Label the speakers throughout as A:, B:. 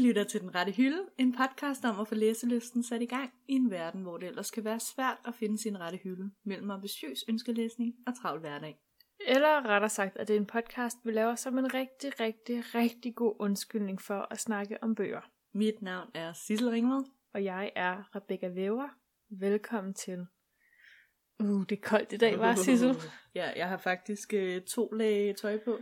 A: lytter til Den Rette Hylde, en podcast om at få læselysten sat i gang i en verden, hvor det ellers kan være svært at finde sin rette hylde mellem ambitiøs ønskelæsning og travl hverdag.
B: Eller rettere sagt, at det er en podcast, vi laver som en rigtig, rigtig, rigtig god undskyldning for at snakke om bøger.
A: Mit navn er Sissel Ringvad.
B: Og jeg er Rebecca Væver. Velkommen til. Uh, det er koldt i dag, var Sissel?
A: Ja, jeg har faktisk øh, to lag tøj på.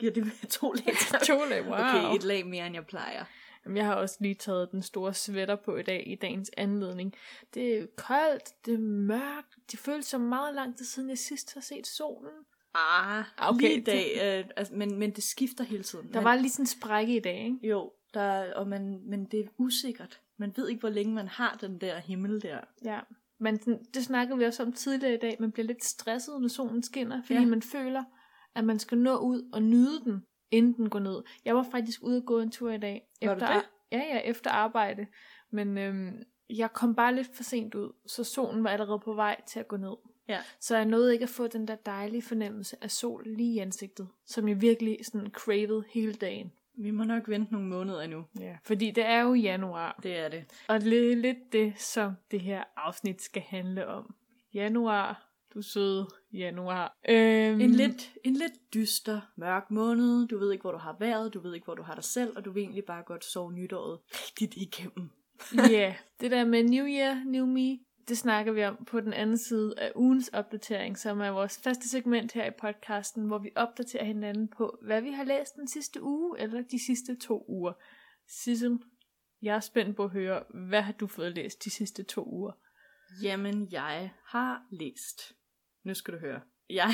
A: Giver det med to lag tøj?
B: To lag, wow.
A: Okay, et lag mere end jeg plejer.
B: Jamen, Jeg har også lige taget den store sweater på i dag, i dagens anledning. Det er koldt, det er mørkt, det føles som meget lang tid siden, jeg sidst har set solen.
A: Ah,
B: okay,
A: okay, lige i
B: det-
A: dag, øh, altså, men, men det skifter hele tiden.
B: Der
A: Man-
B: var lige sådan en sprække i dag, ikke?
A: Jo, der, og man, men det er usikkert. Man ved ikke, hvor længe man har den der himmel der.
B: Ja. Men sådan- det snakkede vi også om tidligere i dag, man bliver lidt stresset, når solen skinner, fordi
A: Ja.
B: ja. man føler, at man skal nå ud og nyde den, inden den går ned. Jeg var faktisk ude og gå en tur i dag.
A: Var du det?
B: Ja, ja, efter arbejde. Men øhm, jeg kom bare lidt for sent ud, så solen var allerede på vej til at gå ned.
A: Ja.
B: Så jeg nåede ikke at få den der dejlige fornemmelse af sol lige i ansigtet, som jeg virkelig sådan cravede hele dagen.
A: Vi må nok vente nogle måneder endnu.
B: Ja. Fordi det er jo januar,
A: Det er det.
B: og det er lidt det, som det her afsnit skal handle om. Januar. Du søde januar. Øhm,
A: En, lidt, en lidt dyster, mørk måned. Du ved ikke, hvor du har været. Du ved ikke, hvor du har dig selv. Og du vil egentlig bare godt sove nytåret rigtigt igennem.
B: Ja, yeah. det der med New Year, New Me, det snakker vi om på den anden side af ugens opdatering, som er vores faste segment her i podcasten, hvor vi opdaterer hinanden på, hvad vi har læst den sidste uge eller de sidste to uger. Sissel, jeg er spændt på at høre, hvad har du fået læst de sidste to uger?
A: Jamen, jeg har læst. Nu skal du høre. Jeg...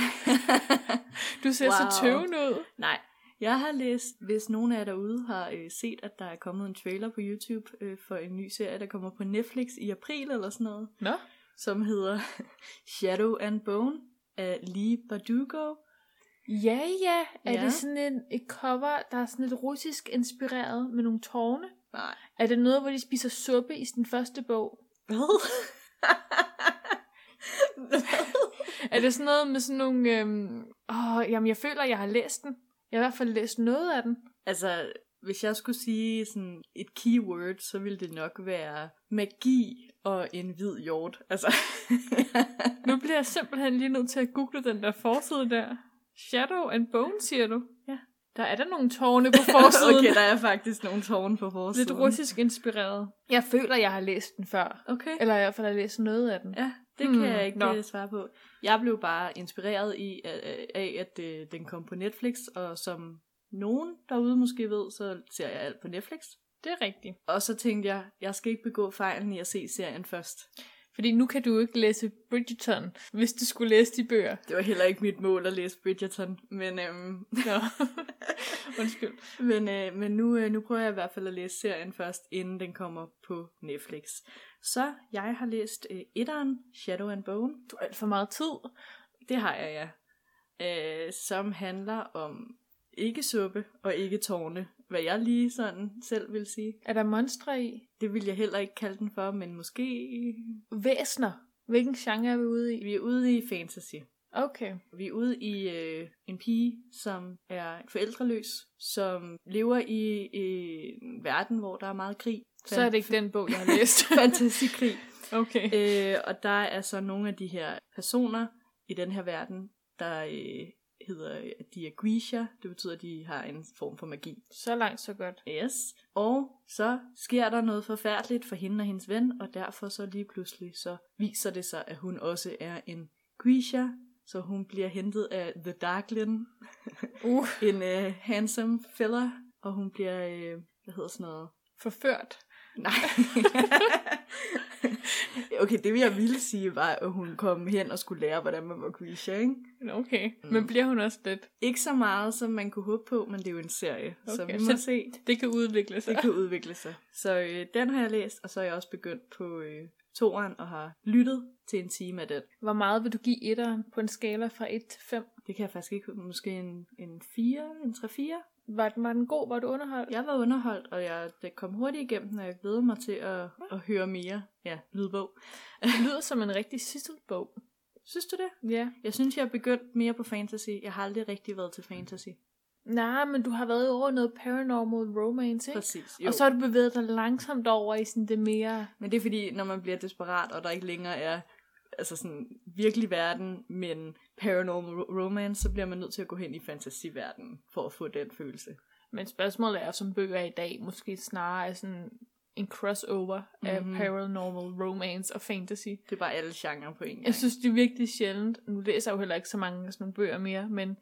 B: Du ser wow. så
A: Wow.
B: tøvende ud.
A: Nej, jeg har læst, hvis nogen af jer derude har øh, set, at der er kommet en trailer på YouTube øh, for en ny serie, der kommer på Netflix i april eller sådan noget.
B: Nå?
A: som hedder Shadow and Bone af Lee Bardugo.
B: Ja, ja.
A: Ja.
B: Er ja. det sådan en, et cover, der er sådan lidt russisk inspireret med nogle tårne?
A: Nej.
B: Er det noget, hvor de spiser suppe i den første bog?
A: Hvad?
B: Er det sådan noget med sådan nogle... Øhm, åh, jamen, jeg føler, jeg har læst den. Jeg har i hvert fald læst noget af den.
A: altså, hvis jeg skulle sige sådan et keyword, så ville det nok være magi og en hvid hjort. Altså,
B: Nu bliver jeg simpelthen lige nødt til at google den der forside der. Shadow and Bone, siger du?
A: Ja.
B: Der er der nogle tårne på forsiden.
A: okay, der er faktisk nogle tårne på
B: Lidt
A: forsiden.
B: russisk inspireret. Jeg føler, jeg har læst den før.
A: Okay.
B: Eller i hvert fald har læst noget af den.
A: Ja, det kan
B: Hmm,
A: jeg ikke
B: nå.
A: nå. svare på. Jeg blev bare inspireret i, af, af at øh, den kom på Netflix, og som nogen derude måske ved, så ser jeg alt på Netflix.
B: Det er rigtigt.
A: Og så tænkte jeg, jeg skal ikke begå fejlen i at se serien først.
B: Fordi nu kan du ikke læse Bridgerton, hvis du skulle læse de bøger.
A: Det var heller ikke mit mål at læse Bridgerton, men, øhm,
B: Nå, undskyld.
A: men, øh, men nu, øh, nu prøver jeg i hvert fald at læse serien først, inden den kommer på Netflix. Så jeg har læst øh, etteren, Shadow and Bone.
B: Du har alt for meget tid.
A: Det har jeg, ja. Øh, som handler om ikke suppe og ikke tårne, hvad jeg lige sådan selv vil sige.
B: Er der monstre i?
A: Det vil jeg heller ikke kalde den for, men måske...
B: Væsner. Hvilken genre er vi ude i?
A: Vi er ude i fantasy.
B: Okay.
A: Vi er ude i øh, en pige, som er forældreløs, som lever i øh, en verden, hvor der er meget krig.
B: Så er det ikke den bog, jeg har læst.
A: Fantasikrig.
B: okay.
A: øh, og der er så nogle af de her personer i den her verden, der øh, hedder, at de er Grisha. Det betyder, at de har en form for magi.
B: Så langt, så godt.
A: Yes. Og så sker der noget forfærdeligt for hende og hendes ven, og derfor så lige pludselig så viser det sig, at hun også er en Grisha, så hun bliver hentet af The Darklin,
B: Uh,
A: en øh, handsome fella, og hun bliver, øh, hvad hedder sådan noget?
B: forført.
A: Nej. okay, det jeg ville sige var, at hun kom hen og skulle lære, hvordan man var Grisha, ikke?
B: Okay.
A: Mm.
B: Men bliver hun også lidt?
A: Ikke så meget, som man kunne håbe på, men det er jo en serie, okay, så
B: Okay,
A: vi må
B: så-
A: se.
B: Det kan udvikle sig.
A: Det kan udvikle sig. Så øh, den har jeg læst, og så er jeg også begyndt på øh, toeren og har lyttet til en time af den.
B: Hvor meget vil du give etteren på en skala fra 1 til 5?
A: Det kan jeg faktisk ikke. Måske en, en 4, en 3-4.
B: Var den, var den god? Var du underholdt?
A: Jeg var underholdt, og jeg det kom hurtigt igennem, og jeg glæder mig til at, at høre mere. Ja, lydbog.
B: Det lyder som en rigtig sidste bog.
A: Synes du det?
B: Ja.
A: Jeg synes, jeg er begyndt mere på fantasy. Jeg har aldrig rigtig været til fantasy.
B: Nej, men du har været over noget paranormal romance, ikke?
A: Præcis,
B: Jo. Og så har du bevæget dig langsomt over i sådan det mere...
A: Men det er fordi, når man bliver desperat, og der ikke længere er altså sådan virkelig verden, men paranormal ro- romance, så bliver man nødt til at gå hen i fantasiverdenen, for at få den følelse.
B: Men spørgsmålet er, som bøger i dag måske snarere er sådan en crossover mm-hmm. af
A: Mhm.
B: paranormal romance og fantasy.
A: Det er bare alle genrer på en gang.
B: Jeg synes, det er virkelig sjældent. Nu læser jeg jo heller ikke så mange af sådan nogle bøger mere, men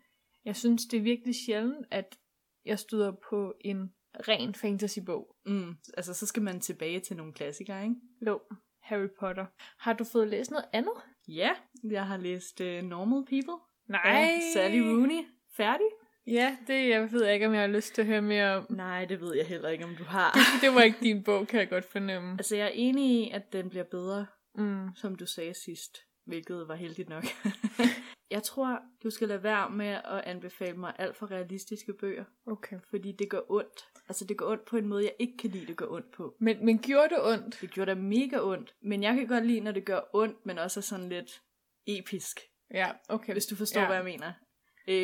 B: jeg synes, det er virkelig sjældent, at jeg støder på en ren fantasybog.
A: Mm, altså, så skal man tilbage til nogle klassikere, ikke?
B: Jo, Harry Potter. Har du fået læst noget andet?
A: Ja, jeg har læst uh, Normal People
B: Nej.
A: af Sally Rooney. Færdig?
B: Ja, det jeg ved jeg ikke, om jeg har lyst til at høre mere om.
A: Nej, det ved jeg heller ikke, om du har.
B: Det var ikke din bog, kan jeg godt fornemme.
A: altså, jeg er enig i, at den bliver bedre,
B: Mm.
A: som du sagde sidst, hvilket var heldigt nok. jeg tror, du skal lade være med at anbefale mig alt for realistiske bøger,
B: Okay.
A: fordi det gør ondt. Altså det gør ondt på en måde, jeg ikke kan lide, det gør ondt på.
B: Men, men gjorde det ondt?
A: Det gjorde da mega ondt, men jeg kan godt lide, når det gør ondt, men også er sådan lidt episk,
B: Ja, okay.
A: hvis du forstår,
B: Ja.
A: ja. hvad jeg mener.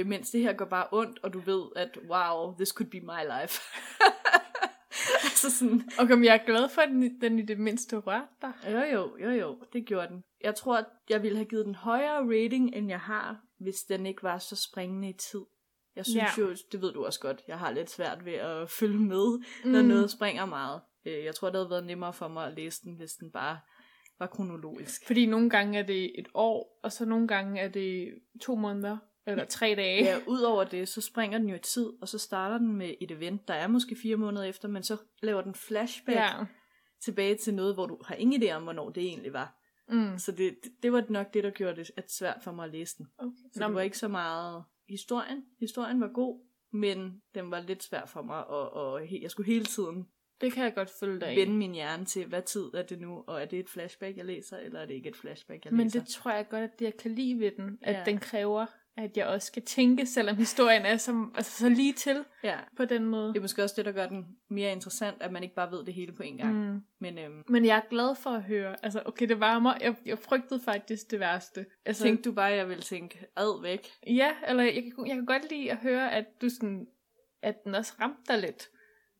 A: Øh, mens det her gør bare ondt, og du ved, at wow, this could be my life. altså sådan,
B: Okay, men jeg er glad for, at den, i- den i det mindste rørte dig.
A: Jo, jo, jo, jo, det gjorde den. Jeg tror, at jeg ville have givet den højere rating, end jeg har, hvis den ikke var så springende i tid. Jeg synes
B: Ja.
A: ja. jo, det ved du også godt, jeg har lidt svært ved at følge med, når mm. noget springer meget. Øh, Jeg tror, det havde været nemmere for mig at læse den, hvis den bare var kronologisk.
B: Fordi nogle gange er det et år, og så nogle gange er det to måneder, eller tre dage.
A: Ja, udover det, så springer den jo i tid, og så starter den med et event, der er måske fire måneder efter, men så laver den flashback ja.
B: ja.
A: tilbage til noget, hvor du har ingen idé om, hvornår det egentlig var.
B: Mm.
A: Så det, det, det var nok det, der gjorde det at svært for mig at læse den.
B: Okay.
A: Så
B: Nå,
A: det var
B: men-
A: ikke så meget historien. Historien var god, men den var lidt svær for mig, og, og he- jeg skulle hele tiden
B: det kan jeg godt følge dig i.
A: vende min hjerne til, hvad tid er det nu, og er det et flashback, jeg læser, eller er det ikke et flashback, jeg
B: Men
A: læser.
B: det tror jeg godt, at det, jeg kan lide ved den, at
A: Ja.
B: den kræver, at jeg også skal tænke, selvom historien er som, altså, så lige til
A: Ja.
B: på den måde.
A: Det er måske også det, der gør den mere interessant, at man ikke bare ved det hele på en gang. Mm.
B: Mm.
A: Men øhm,
B: Men jeg er glad for at høre. Altså, okay, det varmer. Jeg, jeg frygtede faktisk det værste. Altså,
A: tænkte du bare, at jeg ville tænke ad væk?
B: Ja, eller jeg kan, jeg kan godt lide at høre, at du sådan, at den også ramte dig lidt.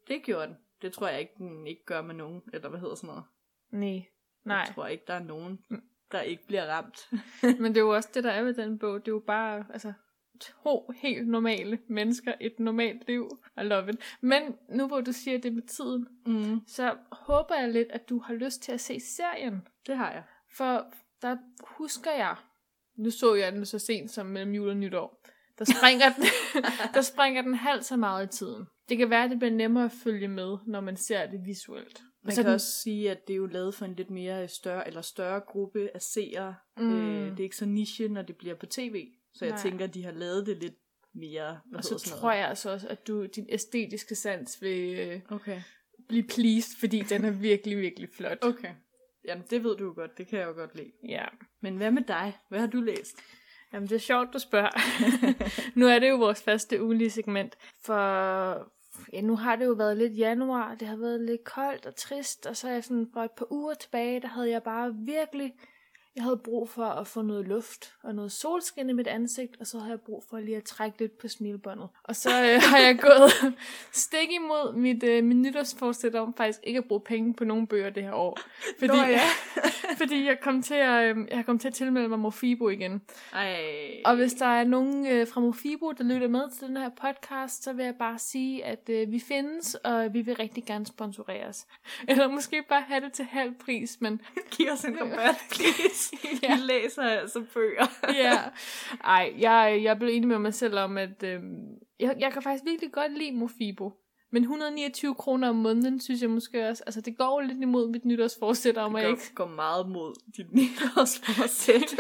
A: Det gjorde den. Det tror jeg ikke, den ikke gør med nogen, eller hvad hedder sådan noget.
B: Nej. Nej,
A: Jeg tror ikke, der er nogen, der ikke bliver ramt.
B: men det er jo også det, der er ved den bog. Det er jo bare, altså, to helt normale mennesker, et normalt liv. I love it. Men nu hvor du siger det med tiden,
A: Mm.
B: så håber jeg lidt, at du har lyst til at se serien.
A: Det har jeg.
B: For der husker jeg, nu så jeg den så sent som mellem jul og nytår, der springer den, der springer den halvt så meget i tiden. Det kan være, at det bliver nemmere at følge med, når man ser det visuelt.
A: Man
B: Så
A: kan
B: den-
A: også sige, at det er jo lavet for en lidt mere øh, større eller større gruppe af seere.
B: Mm.
A: Mm. Øh, det er ikke så niche, når det bliver på tv. Så jeg
B: Nej.
A: Nej. tænker, at de har lavet det lidt mere. Hvad
B: Og
A: hedder
B: så
A: sådan
B: tror
A: noget?
B: jeg altså også, at du, din æstetiske sans vil øh,
A: Okay.
B: blive pleased, fordi den er virkelig, virkelig flot.
A: Okay. Jamen, det ved du jo godt. Det kan jeg jo godt lide.
B: Ja.
A: Men hvad med dig? Hvad har du læst?
B: Jamen, det er sjovt, du spørger. nu er det jo vores første ugenlige segment, for ja, nu har det jo været lidt januar, det har været lidt koldt og trist, og så er jeg sådan, for et par uger tilbage, der havde jeg bare virkelig, jeg havde brug for at få noget luft og noget solskin i mit ansigt, og så havde jeg brug for lige at trække lidt på smilebåndet. Og så øh, har jeg gået stik imod mit, øh, mit nytårsforsæt om faktisk ikke at bruge penge på nogen bøger det her år. Fordi,
A: Nå ja.
B: fordi jeg kom til at, øh, jeg kom til at tilmelde mig Mofibo igen.
A: Ej.
B: Og hvis der er nogen øh, fra Mofibo, der lytter med til den her podcast, så vil jeg bare sige, at øh, vi findes, og vi vil rigtig gerne sponsoreres. Eller måske bare have det til halv pris, men
A: Giv os en rabat, please.
B: Ja.
A: ja. Vi læser altså bøger.
B: ja. Ej, jeg, jeg blev enig med mig selv om, at øh, jeg, jeg kan faktisk virkelig godt lide Mofibo. Men 129 kroner om måneden, synes jeg måske også, altså det går jo lidt imod mit nytårsforsæt om, at jeg ikke
A: Det går meget mod dit nytårsforsæt.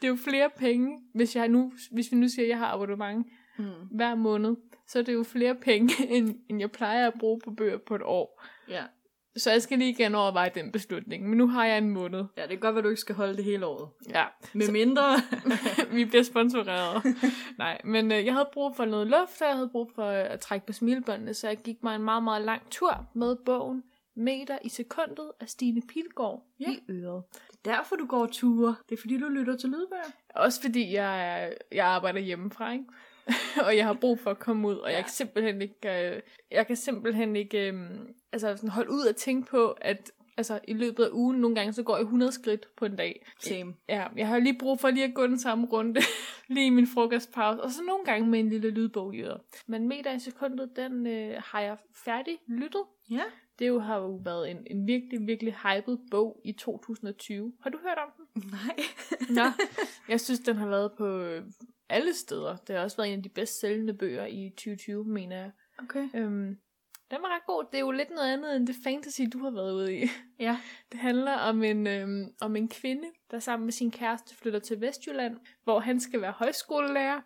B: det er jo flere penge, hvis, jeg nu, hvis vi nu siger, at jeg har abonnement
A: mm.
B: hver måned, så er det jo flere penge, end, end jeg plejer at bruge på bøger på et år.
A: Ja.
B: Så jeg skal lige igen overveje den beslutning, men nu har jeg en måned.
A: ja, det kan godt være, du ikke skal holde det hele året.
B: Ja,
A: Med mindre...
B: vi bliver sponsoreret. Nej, men øh, jeg havde brug for noget luft, og jeg havde brug for øh, at trække på smilebåndene, så jeg gik mig en meget, meget lang tur med bogen Meter i sekundet af Stine Pilgaard
A: Ja.
B: i øret.
A: Derfor du går ture. Det er fordi, du lytter til lydbøger.
B: Også fordi jeg, jeg arbejder hjemmefra, ikke? og jeg har brug for at komme ud, og jeg kan simpelthen ikke, øh, jeg kan simpelthen ikke øh, altså sådan holde ud og tænke på, at altså, i løbet af ugen nogle gange, så går jeg 100 skridt på en dag.
A: Same.
B: Ja, jeg har lige brug for lige at gå den samme runde, lige i min frokostpause, og så nogle gange med en lille lydbog i øret. Men meter i sekundet, den øh, har jeg færdig lyttet.
A: Ja.
B: Det jo har jo været en, en virkelig, virkelig hyped bog i 2020. Har du hørt om den?
A: Nej.
B: Nå, jeg synes, den har været på øh, alle steder. Det har også været en af de bedst sælgende bøger i 2020, mener jeg.
A: Okay.
B: Øhm, den var ret god. Det er jo lidt noget andet end det fantasy, du har været ude i.
A: Ja.
B: Det handler om en, øhm, om en kvinde, der sammen med sin kæreste flytter til Vestjylland, hvor han skal være højskolelærer,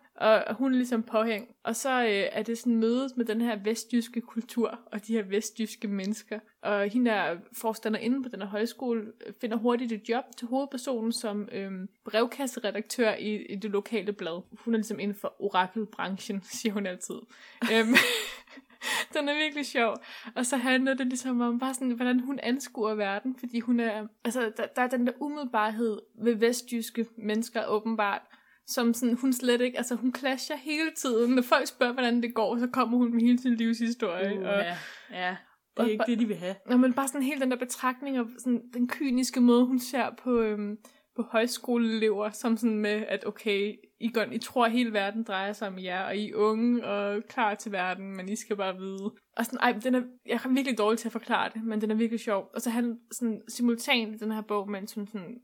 B: og hun er ligesom påhæng. Og så øh, er det sådan mødet med den her vestjyske kultur og de her vestjyske mennesker. Og hende der forstander inde på den her højskole øh, finder hurtigt et job til hovedpersonen som øhm, brevkasseredaktør i, i det lokale blad. Hun er ligesom inden for orakelbranchen, siger hun altid. øhm, den er virkelig sjov. Og så handler det ligesom om, bare sådan, hvordan hun anskuer verden, fordi hun er, altså, der, der er den der umiddelbarhed ved vestjyske mennesker åbenbart, som sådan, hun slet ikke, altså hun clasher hele tiden. Når folk spørger, hvordan det går, så kommer hun med hele sin livshistorie.
A: Uh,
B: og,
A: ja. ja. Det er ikke det, de vil have.
B: Nå, men bare sådan hele den der betragtning og sådan den kyniske måde, hun ser på, øhm, på højskoleelever, som sådan med, at okay, I, gør, I tror, at hele verden drejer sig om jer, og I er unge og klar til verden, men I skal bare vide. Og sådan, ej, den er, jeg er virkelig dårlig til at forklare det, men den er virkelig sjov. Og så han sådan simultant i den her bog, mens hun sådan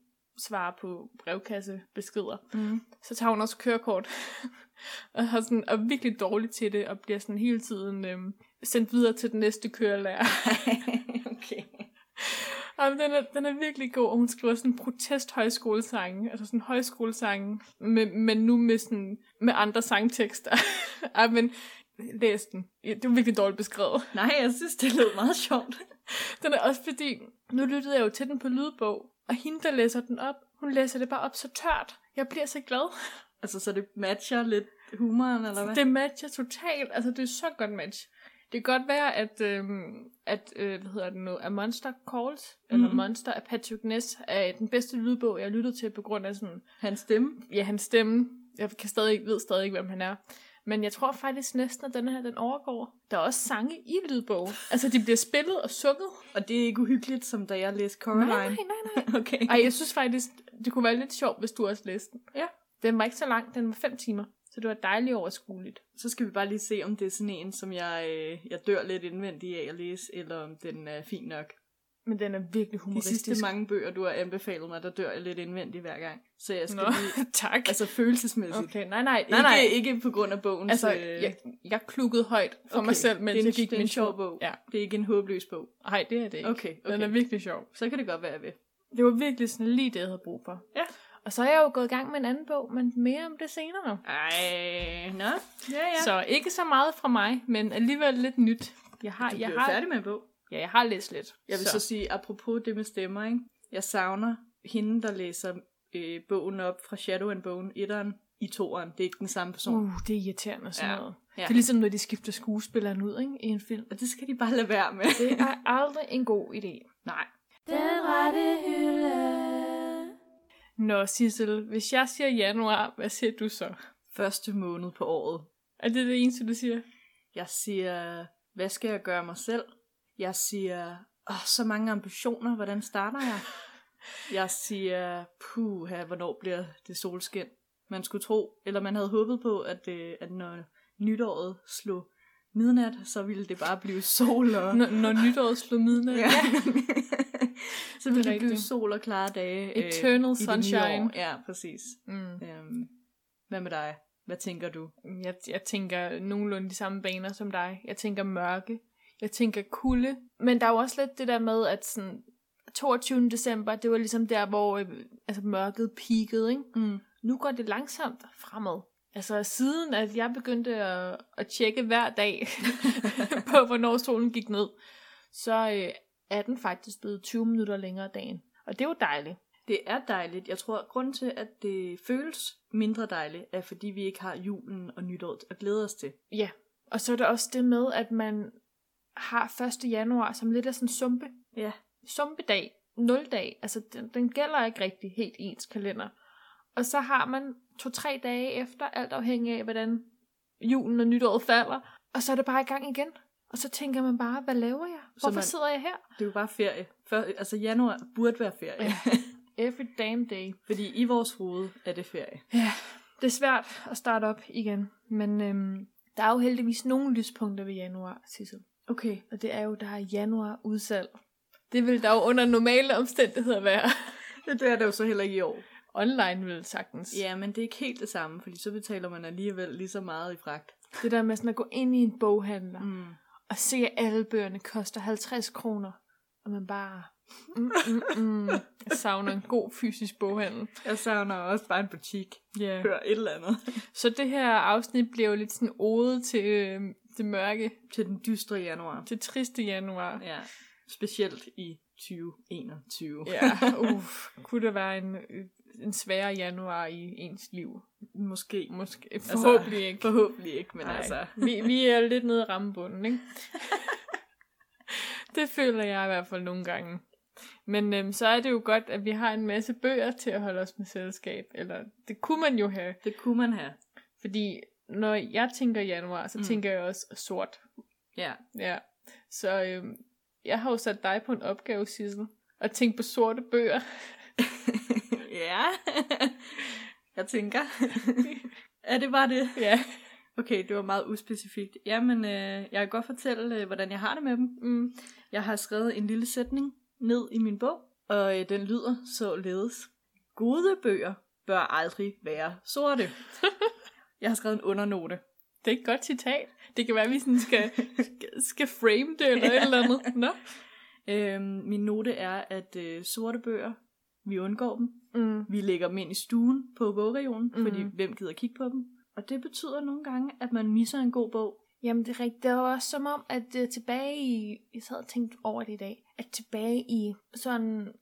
B: svarer på brevkassebeskeder,
A: Mm.
B: så tager hun også kørekort. og har sådan, er virkelig dårlig til det, og bliver sådan hele tiden øhm, sendt videre til den næste kørelærer.
A: okay.
B: Jamen, den, er, den er virkelig god, og hun skriver sådan protesthøjskolesange, altså sådan højskolesange, men, men nu med, sådan, med andre sangtekster. Ej, men læs den. Ja, Det er virkelig dårligt beskrevet.
A: Nej, jeg synes, det lød meget sjovt.
B: Den er også fordi, nu lyttede jeg jo til den på lydbog, og hende, der læser den op, hun læser det bare op så tørt. Jeg bliver så glad.
A: Altså, så det matcher lidt humoren, eller hvad?
B: Det matcher totalt. Altså, det er så godt match. Det kan godt være, at, øhm, at øh, hvad hedder det nu, A Monster Calls, mm-hmm. eller
A: Mhm.
B: Monster af Patrick Ness, er den bedste lydbog, jeg lyttede til, på grund af sådan,
A: Hans stemme.
B: ja, hans stemme. Jeg kan stadig ikke, ved stadig ikke, hvem han er. Men jeg tror faktisk næsten, at den her, den overgår. Der er også sange i lydbog. Altså, de bliver spillet og sunget.
A: Og det er ikke uhyggeligt, som da jeg læste
B: Nej,
A: Coraline.
B: nej, nej, nej.
A: Okay.
B: Ej, jeg synes faktisk, det kunne være lidt sjovt, hvis du også læste den.
A: Ja.
B: Den var ikke så lang, den var 5 timer. Så det var dejligt overskueligt.
A: Så skal vi bare lige se, om det er sådan en, som jeg, øh, jeg dør lidt indvendig af at læse, eller om den er fin nok.
B: Men den er virkelig
A: De
B: humoristisk.
A: sidste mange bøger, du har anbefalet mig, der dør jeg lidt indvendig hver gang. Så jeg skal
B: Nå,
A: lige...
B: tak.
A: Altså følelsesmæssigt. Okay.
B: Okay, nej, nej,
A: Nej,
B: nej, nej.
A: Ikke, ikke på grund af bogens...
B: Altså,
A: øh,
B: jeg, jeg klukkede højt for
A: okay,
B: mig selv,
A: det er
B: mens
A: en-
B: jeg gik
A: det er en
B: min
A: sjov
B: tur.
A: bog.
B: Ja,
A: det er ikke en håbløs bog.
B: nej, det er det ikke. øh,
A: Okay, okay.
B: Den er virkelig sjov.
A: Så kan det godt være, jeg vil.
B: Det var virkelig sådan lige det, jeg havde brug for.
A: Ja.
B: Og så er jeg jo gået i gang med en anden bog, men mere om det senere.
A: Ej, nå. Ja, ja.
B: Ja.
A: Så
B: Så ikke så meget fra mig, men alligevel lidt nyt. Jeg har,
A: du
B: jeg
A: bliver
B: har,
A: færdig med en bog.
B: Ja, jeg har læst lidt.
A: Jeg vil så, så sige, apropos det med stemmer, ikke? jeg savner hende, der læser øh, bogen op fra Shadow and Bone 1'eren i 2'eren. Det er ikke den samme person.
B: Uh, det er irriterende og sådan
A: Ja.
B: ja. noget.
A: Ja.
B: Ja. Det er ligesom, når de skifter skuespilleren ud ikke? i en film.
A: Og det skal de bare lade være med.
B: Det er aldrig en god idé.
A: Nej.
B: Den rette hylde. Nå, Sissel, hvis jeg siger januar, hvad siger du så?
A: Første måned på året.
B: Er det det eneste, du siger?
A: Jeg siger, hvad skal jeg gøre mig selv? Jeg siger, åh, så mange ambitioner, hvordan starter jeg? Jeg siger, puh, hvornår bliver det solskin? Man skulle tro, eller man havde håbet på, at, øh, at når nytåret slog midnat, så ville det bare blive sol og...
B: Når, når nytåret slog midnat.
A: Ja. så ville
B: Det er
A: det, blive
B: rigtigt.
A: sol og klare dage. øh,
B: Eternal
A: i det nye
B: sunshine.
A: år. Ja, præcis.
B: Mm.
A: Øhm, hvad med dig? Hvad tænker du?
B: Jeg, jeg tænker nogenlunde de samme baner som dig. Jeg tænker mørke. Jeg tænker kulde. Men der er jo også lidt det der med, at sådan 22. december, det var ligesom der, hvor øh, altså mørket peakede. Ikke?
A: Mm.
B: Nu går det langsomt fremad. Altså siden, at jeg begyndte at, at tjekke hver dag på, hvornår solen gik ned, så øh, er den faktisk blevet 20 minutter længere af dagen. Og det er jo dejligt.
A: Det er dejligt. Jeg tror, at grunden til, at det føles mindre dejligt, er fordi vi ikke har julen og nytåret at glæde os til.
B: Ja, og så er der også det med, at man har 1. januar som lidt af sådan en sumpe.
A: Ja.
B: Sumpedag, nuldag, altså den, den gælder ikke rigtig helt i ens kalender. Og så har man to-tre dage efter, alt afhængig af, hvordan julen og nytåret falder. Og så er det bare i gang igen. Og så tænker man bare, hvad laver jeg?
A: Så
B: Hvorfor
A: man-
B: sidder jeg her?
A: Det er jo bare ferie. Før, altså januar burde være ferie.
B: Every damn day.
A: Fordi i vores hoved er det ferie.
B: Ja, det er svært at starte op igen. Men øhm, der er jo heldigvis nogle lyspunkter ved januar, Sissel.
A: Okay.
B: Og det er jo, der er januar udsalg. Det vil der jo under normale omstændigheder være.
A: Det er det jo så heller ikke i år.
B: Online vil sagtens.
A: Ja, men det er ikke helt det samme, fordi så betaler man alligevel lige så meget i fragt.
B: Det der med sådan at gå ind i en boghandler mm.
A: Mm.
B: og se, at alle bøgerne koster 50 kroner. Og man bare... Mm, mm, mm. Jeg savner en god fysisk boghandel.
A: Jeg savner også bare en butik.
B: Yeah.
A: Hør et eller andet.
B: Så det her afsnit bliver jo lidt sådan ode til øh, det mørke,
A: Til den dystre januar.
B: til triste januar.
A: Ja. Specielt i 2021.
B: Ja, uff. Kunne det være en, øh, en sværere januar i ens liv?
A: Måske.
B: Måske. Forhåbentlig
A: altså,
B: ikke.
A: Forhåbentlig ikke, men
B: Nej.
A: Ej. altså.
B: Vi, vi er lidt nede i rammebunden, ikke? det føler jeg i hvert fald nogle gange. Men øhm, så er det jo godt, at vi har en masse bøger til at holde os med selskab. Eller det kunne man jo have.
A: Det kunne man have.
B: Fordi når jeg tænker januar, så
A: Mm.
B: mm. tænker jeg også sort.
A: Ja.
B: Ja. Så øhm, jeg har jo sat dig på en opgave, Sissel. At tænke på sorte bøger.
A: ja. Jeg tænker. er det bare det?
B: ja.
A: Okay, det var meget uspecifikt. Jamen, øh, jeg kan godt fortælle, øh, hvordan jeg har det med dem.
B: Mm.
A: Jeg har skrevet en lille sætning ned i min bog, og øh, den lyder således. Gode bøger bør aldrig være sorte. Jeg har skrevet en undernote.
B: Det er et godt citat. Det kan være, at vi sådan skal, skal- skal frame det eller et eller andet. Nå.
A: Øhm, min note er, at øh, sorte bøger, vi undgår dem.
B: Mm.
A: Vi lægger dem ind i stuen på bogreolen, mm-hmm. fordi
B: Mhm.
A: hvem gider kigge på dem? Og det betyder nogle gange, at man misser en god bog.
B: Jamen det er rigtigt. Det var også som om, at uh, tilbage i... Jeg sad og tænkte over det i dag. At tilbage i sådan...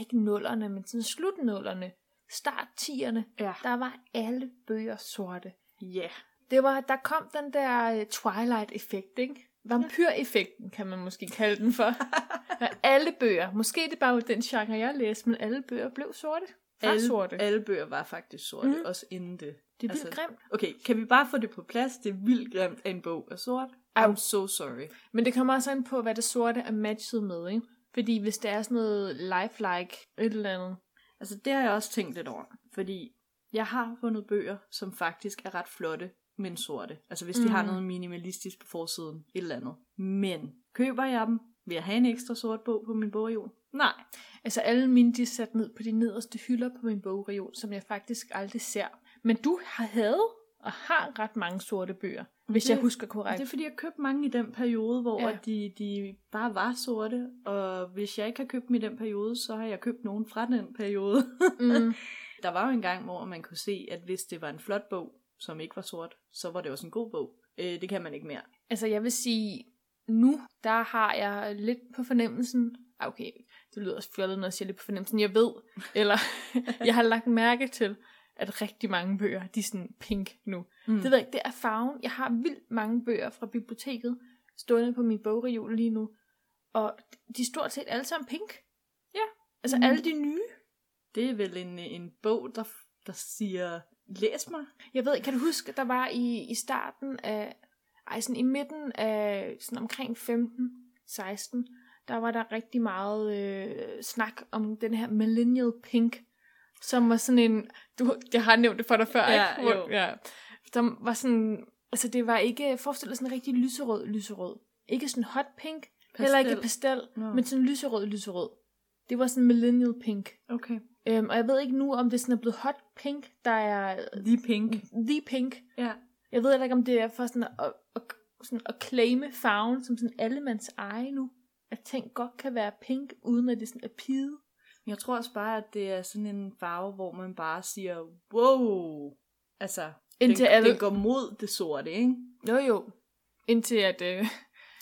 B: Ikke nullerne, men sådan slutnullerne. Start 10'erne.
A: Ja.
B: Der var alle bøger sorte.
A: Ja.
B: Det var, der kom den der øh, Twilight-effekt, ikke? Vampyreffekten kan man måske kalde den for. Og alle bøger. Måske det bare var den genre, jeg læste, men alle bøger blev sorte. Fra alle, sorte.
A: alle bøger var faktisk sorte, mm.
B: Mhm.
A: også inden det.
B: det er vildt
A: altså-
B: altså, grimt.
A: Okay, kan vi bare få det på plads? Det er vildt grimt, at en bog er sort.
B: Au.
A: I'm so sorry.
B: Men det kommer også an på, hvad det sorte er matchet med, ikke? Fordi hvis det er sådan noget lifelike, et eller andet.
A: Altså, det har jeg også tænkt lidt over. Fordi jeg har fundet bøger, som faktisk er ret flotte, men sorte. Altså, hvis de
B: Mhm.
A: har noget minimalistisk på forsiden, et eller andet. Men køber jeg dem? Vil jeg have en ekstra sort bog på min bogreol? Nej.
B: Altså alle mine, de er sat ned på de nederste hylder på min bogreol, som jeg faktisk aldrig ser. Men du har havde og har ret mange sorte bøger, hvis
A: det-
B: jeg husker
A: Right.
B: korrekt.
A: Det er fordi, jeg købte mange i den periode, hvor
B: Ja.
A: ja. de, de bare var sorte. Og hvis jeg ikke har købt dem i den periode, så har jeg købt nogen fra den periode.
B: mm.
A: Der var jo en gang, hvor man kunne se, at hvis det var en flot bog, som ikke var sort, så var det også en god bog. Øh, det kan man ikke mere.
B: Altså jeg vil sige, nu der har jeg lidt på fornemmelsen, Ah, okay, det lyder også fjollet, når jeg siger lidt på fornemmelsen, jeg ved, eller jeg har lagt mærke til, at rigtig mange bøger, de er sådan pink nu.
A: Mm.
B: Det ved jeg ikke, det er farven. Jeg har vildt mange bøger fra biblioteket, stående på min bogreol lige nu. Og de er stort set alle sammen pink.
A: Ja.
B: Altså
A: Mhm.
B: mm. alle de nye.
A: det er vel en, en bog, der, der siger, læs mig.
B: Jeg ved, ikke, kan du huske, der var i, i starten af, ej, sådan i midten af, sådan omkring 15-16, der var der rigtig meget øh, snak om den her millennial pink, som var sådan en, du, jeg har nævnt det for dig før,
A: Ja,
B: ikke? Hvor-
A: jo.
B: Ja, som var sådan, altså det var ikke, forestil dig sådan en rigtig lyserød, lyserød. Ikke sådan hot pink, pastel. heller ikke pastel,
A: Nå.
B: men sådan lyserød, lyserød. Det var sådan millennial pink.
A: Okay.
B: Øhm, og jeg ved ikke nu, om det sådan er blevet hot pink, der er
A: Lige pink.
B: the pink.
A: Ja.
B: Jeg ved heller ikke, om det er for sådan at, at, at, sådan at claime farven som sådan allemands eje nu. At ting godt kan være pink, uden at det sådan er pide.
A: Men Jeg tror også bare, at det er sådan en farve, hvor man bare siger, wow. Altså,
B: Indtil
A: den,
B: alle...
A: den går mod det sorte, ikke?
B: Jo jo. Indtil, at, øh,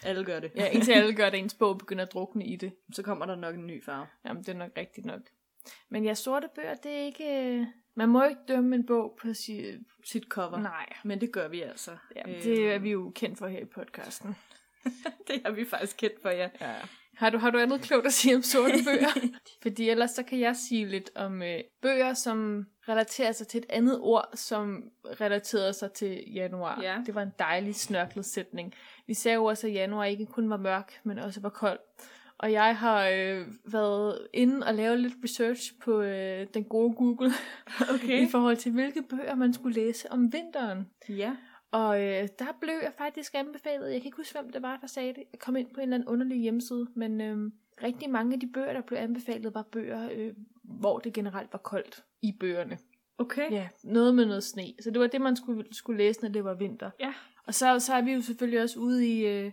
A: Alle gør det.
B: ja, indtil alle gør det, ens bog begynder at drukne i det.
A: Så kommer der nok en ny farve.
B: Jamen, det er nok rigtigt nok. Men ja, sorte bøger, det er ikke... øh, Man må jo ikke dømme en bog på sin...
A: Sit cover.
B: Nej,
A: Men det gør vi altså.
B: ja, det er vi jo kendt for her i podcasten.
A: det er vi faktisk kendt for, ja.
B: Ja. Har du, har du andet klogt at sige om sorte bøger? Fordi ellers så kan jeg sige lidt om øh, bøger, som relaterer sig til et andet ord, som relaterede sig til januar.
A: Ja.
B: Det var en dejlig snørklet sætning. Vi sagde jo også, at januar ikke kun var mørk, men også var kold. Og jeg har øh, været inde og lavet lidt research på øh, den gode Google
A: Okay.
B: i forhold til, hvilke bøger man skulle læse om vinteren.
A: Ja.
B: Og øh, der blev jeg faktisk anbefalet, jeg kan ikke huske, hvem det var, der sagde det. Jeg kom ind på en eller anden underlig hjemmeside, men øh, rigtig mange af de bøger, der blev anbefalet, var bøger, øh, hvor det generelt var koldt i bøgerne.
A: Okay.
B: Ja, noget med noget sne. Så det var det, man skulle, skulle læse, når det var vinter.
A: Ja.
B: Og så, så er vi jo selvfølgelig også ude i, øh,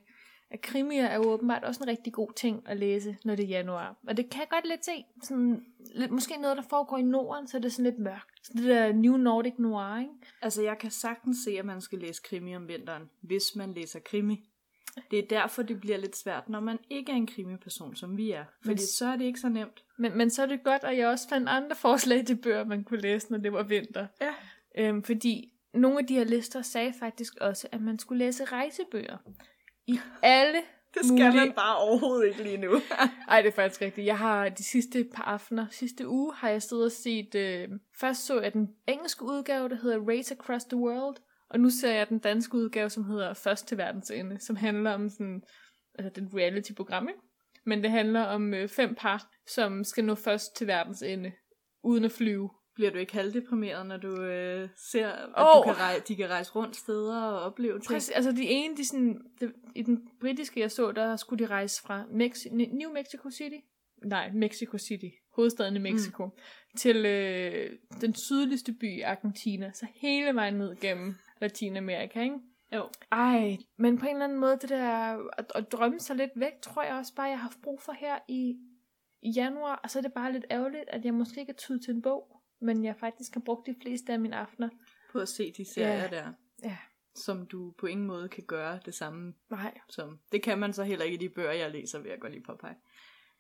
B: at krimier er jo åbenbart også en rigtig god ting at læse, når det er januar. Og det kan jeg godt lidt se. Sådan, lidt, måske noget, der foregår i Norden, så er det sådan lidt mørkt. Så det der New Nordic Noir, ikke?
A: Altså, jeg kan sagtens se, at man skal læse krimi om vinteren, hvis man læser krimi. Det er derfor, det bliver lidt svært, når man ikke er en krimiperson, som vi er. Fordi
B: Men-
A: så er det ikke så nemt.
B: Men, men så er det godt, at jeg også fandt andre forslag til bøger, man kunne læse, når det var vinter.
A: Ja.
B: Øhm, fordi nogle af de her lister sagde faktisk også, at man skulle læse rejsebøger. I alle
A: Det
B: skal man
A: bare overhovedet ikke lige nu.
B: Ej, det er faktisk rigtigt. Jeg har de sidste par aftener, sidste uge, har jeg siddet og set, øh, først så jeg den engelske udgave, der hedder Race Across the World, og nu ser jeg den danske udgave, som hedder Først til verdens ende, som handler om sådan, altså det er et reality-program, ikke? Men det handler om øh, fem par, som skal nå først til verdens ende, uden at flyve.
A: Bliver du ikke halvdeprimeret, når du øh, ser, at oh.
B: Åh.
A: du kan rej- de kan rejse rundt steder og opleve ting?
B: Præcis, altså de ene, de sådan, de, i den britiske, jeg så, der skulle de rejse fra Mex- Ne- New Mexico City, nej, Mexico City, hovedstaden i Mexico, mm. til øh, den sydligste by i Argentina, så hele vejen ned gennem Latinamerika, ikke?
A: Jo.
B: Ej, men på en eller anden måde, det der at, at drømme sig lidt væk, tror jeg også bare, jeg har haft brug for her i, i januar, og så er det bare lidt ærgerligt, at jeg måske ikke er tydet til en bog, men jeg faktisk har brugt de fleste af mine aftener.
A: På at se de serier
B: Ja.
A: der,
B: Ja.
A: som du på ingen måde kan gøre det samme
B: Nej,
A: som. Det kan man så heller ikke i de bøger, jeg læser, vil jeg godt lige påpege.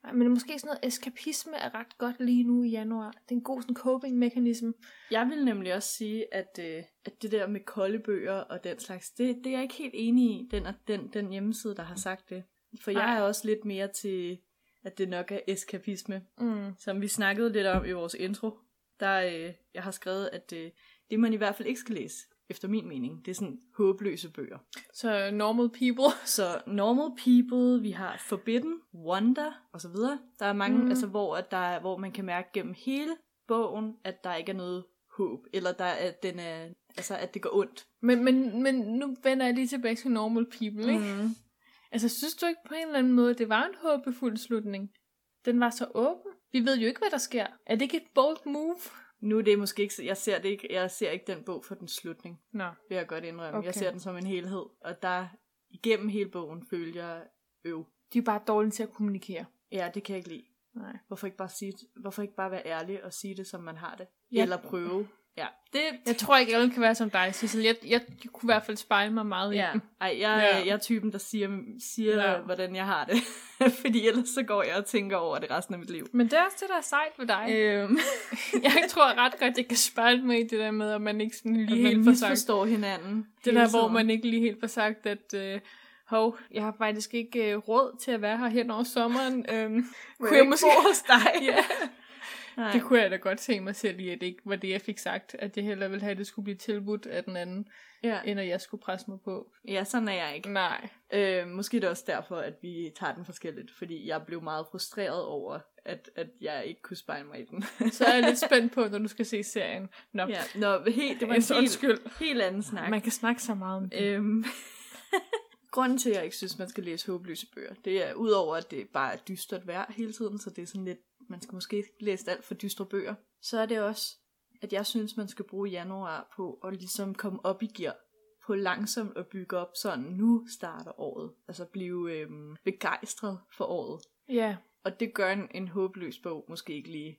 B: Ej, men måske sådan noget eskapisme er ret godt lige nu i januar. Det er en god sådan coping-mekanisme.
A: Jeg vil nemlig også sige, at, øh, at det der med kolde bøger og den slags, det, det er jeg ikke helt enig i, den, den, den hjemmeside, der har sagt det. For jeg
B: Nej.
A: er også lidt mere til, at det nok er eskapisme.
B: Mm.
A: Som vi snakkede lidt om i vores intro, der øh, jeg har skrevet, at øh, det man i hvert fald ikke skal læse, efter min mening, det er sådan håbløse bøger.
B: Så normal people.
A: Så Normal People, vi har Forbidden, Wonder osv. Der er mange,
B: Mhm.
A: mm. altså, hvor, at der er, hvor man kan mærke gennem hele bogen, at der ikke er noget håb, eller der, er- at, den er, altså, at det går ondt.
B: Men, men, men nu vender jeg lige tilbage til normal people, ikke? Mm. Altså, synes du ikke på en eller anden måde, det var en håbefuld slutning? Den var så åben. Vi ved jo ikke, hvad der sker. Er det ikke et bold move?
A: Nu er det måske ikke, jeg ser, det ikke, jeg ser ikke den bog for den slutning,
B: Nå.
A: vil jeg godt indrømme. Okay.
B: Okay.
A: Jeg ser den som en helhed, og der igennem hele bogen føler jeg øv.
B: De er bare dårlige til at kommunikere.
A: Ja, det kan jeg ikke lide.
B: Nej.
A: Hvorfor ikke bare, sige, hvorfor ikke bare være ærlig og sige det, som man har det?
B: Ja.
A: Ja. Eller prøve. Ja, det,
B: Jeg tror ikke, alle kan være som dig, Sissel. Jeg, jeg kunne i hvert fald spejle mig meget i
A: Ja,
B: den.
A: Ej, jeg,
B: Ja.
A: ja. jeg er typen, der siger, siger
B: Ja.
A: ja. hvordan jeg har det. Fordi ellers så går jeg og tænker over det resten af mit liv.
B: Men det er også det, der er sejt ved dig.
A: Øhm,
B: Jeg tror ret godt, jeg kan spejle mig i det der med, at man ikke sådan lige
A: man
B: helt får sagt
A: misforstår hinanden.
B: Det
A: hele
B: der, hvor
A: tiden.
B: man ikke lige helt får sagt, at øh, hov, jeg har faktisk ikke øh, råd til at være her hen over sommeren. Øhm,
A: Må
B: kunne jeg
A: ikke
B: måske...
A: bo hos dig?
B: ja,
A: Nej.
B: det kunne jeg da godt se mig selv i, at det ikke var det, jeg fik sagt. At jeg hellere ville have, at det skulle blive tilbudt af den anden,
A: ja.
B: end at jeg skulle presse mig på.
A: ja, sådan er jeg ikke.
B: Nej.
A: Øh, måske er det også derfor, at vi tager den forskelligt. Fordi jeg blev meget frustreret over, at, at jeg ikke kunne spejle mig i den.
B: Så er jeg lidt spændt på, når du skal se serien. Nå, ja,
A: ja. Nå, helt, det var en helt,
B: undskyld. Øh,
A: helt anden snak.
B: Man kan snakke så meget om det.
A: Øhm, grunden til, at jeg ikke synes, man skal læse håbløse bøger, det er udover, at det bare er dystert vejr hele tiden, så det er sådan lidt, man skal måske ikke læse alt for dystre bøger, så er det også, at jeg synes, man skal bruge januar på at ligesom komme op i gear på langsomt at bygge op sådan, nu starter året. Altså blive øhm, begejstret for året.
B: Ja,
A: Og det gør en, en håbløs bog måske ikke lige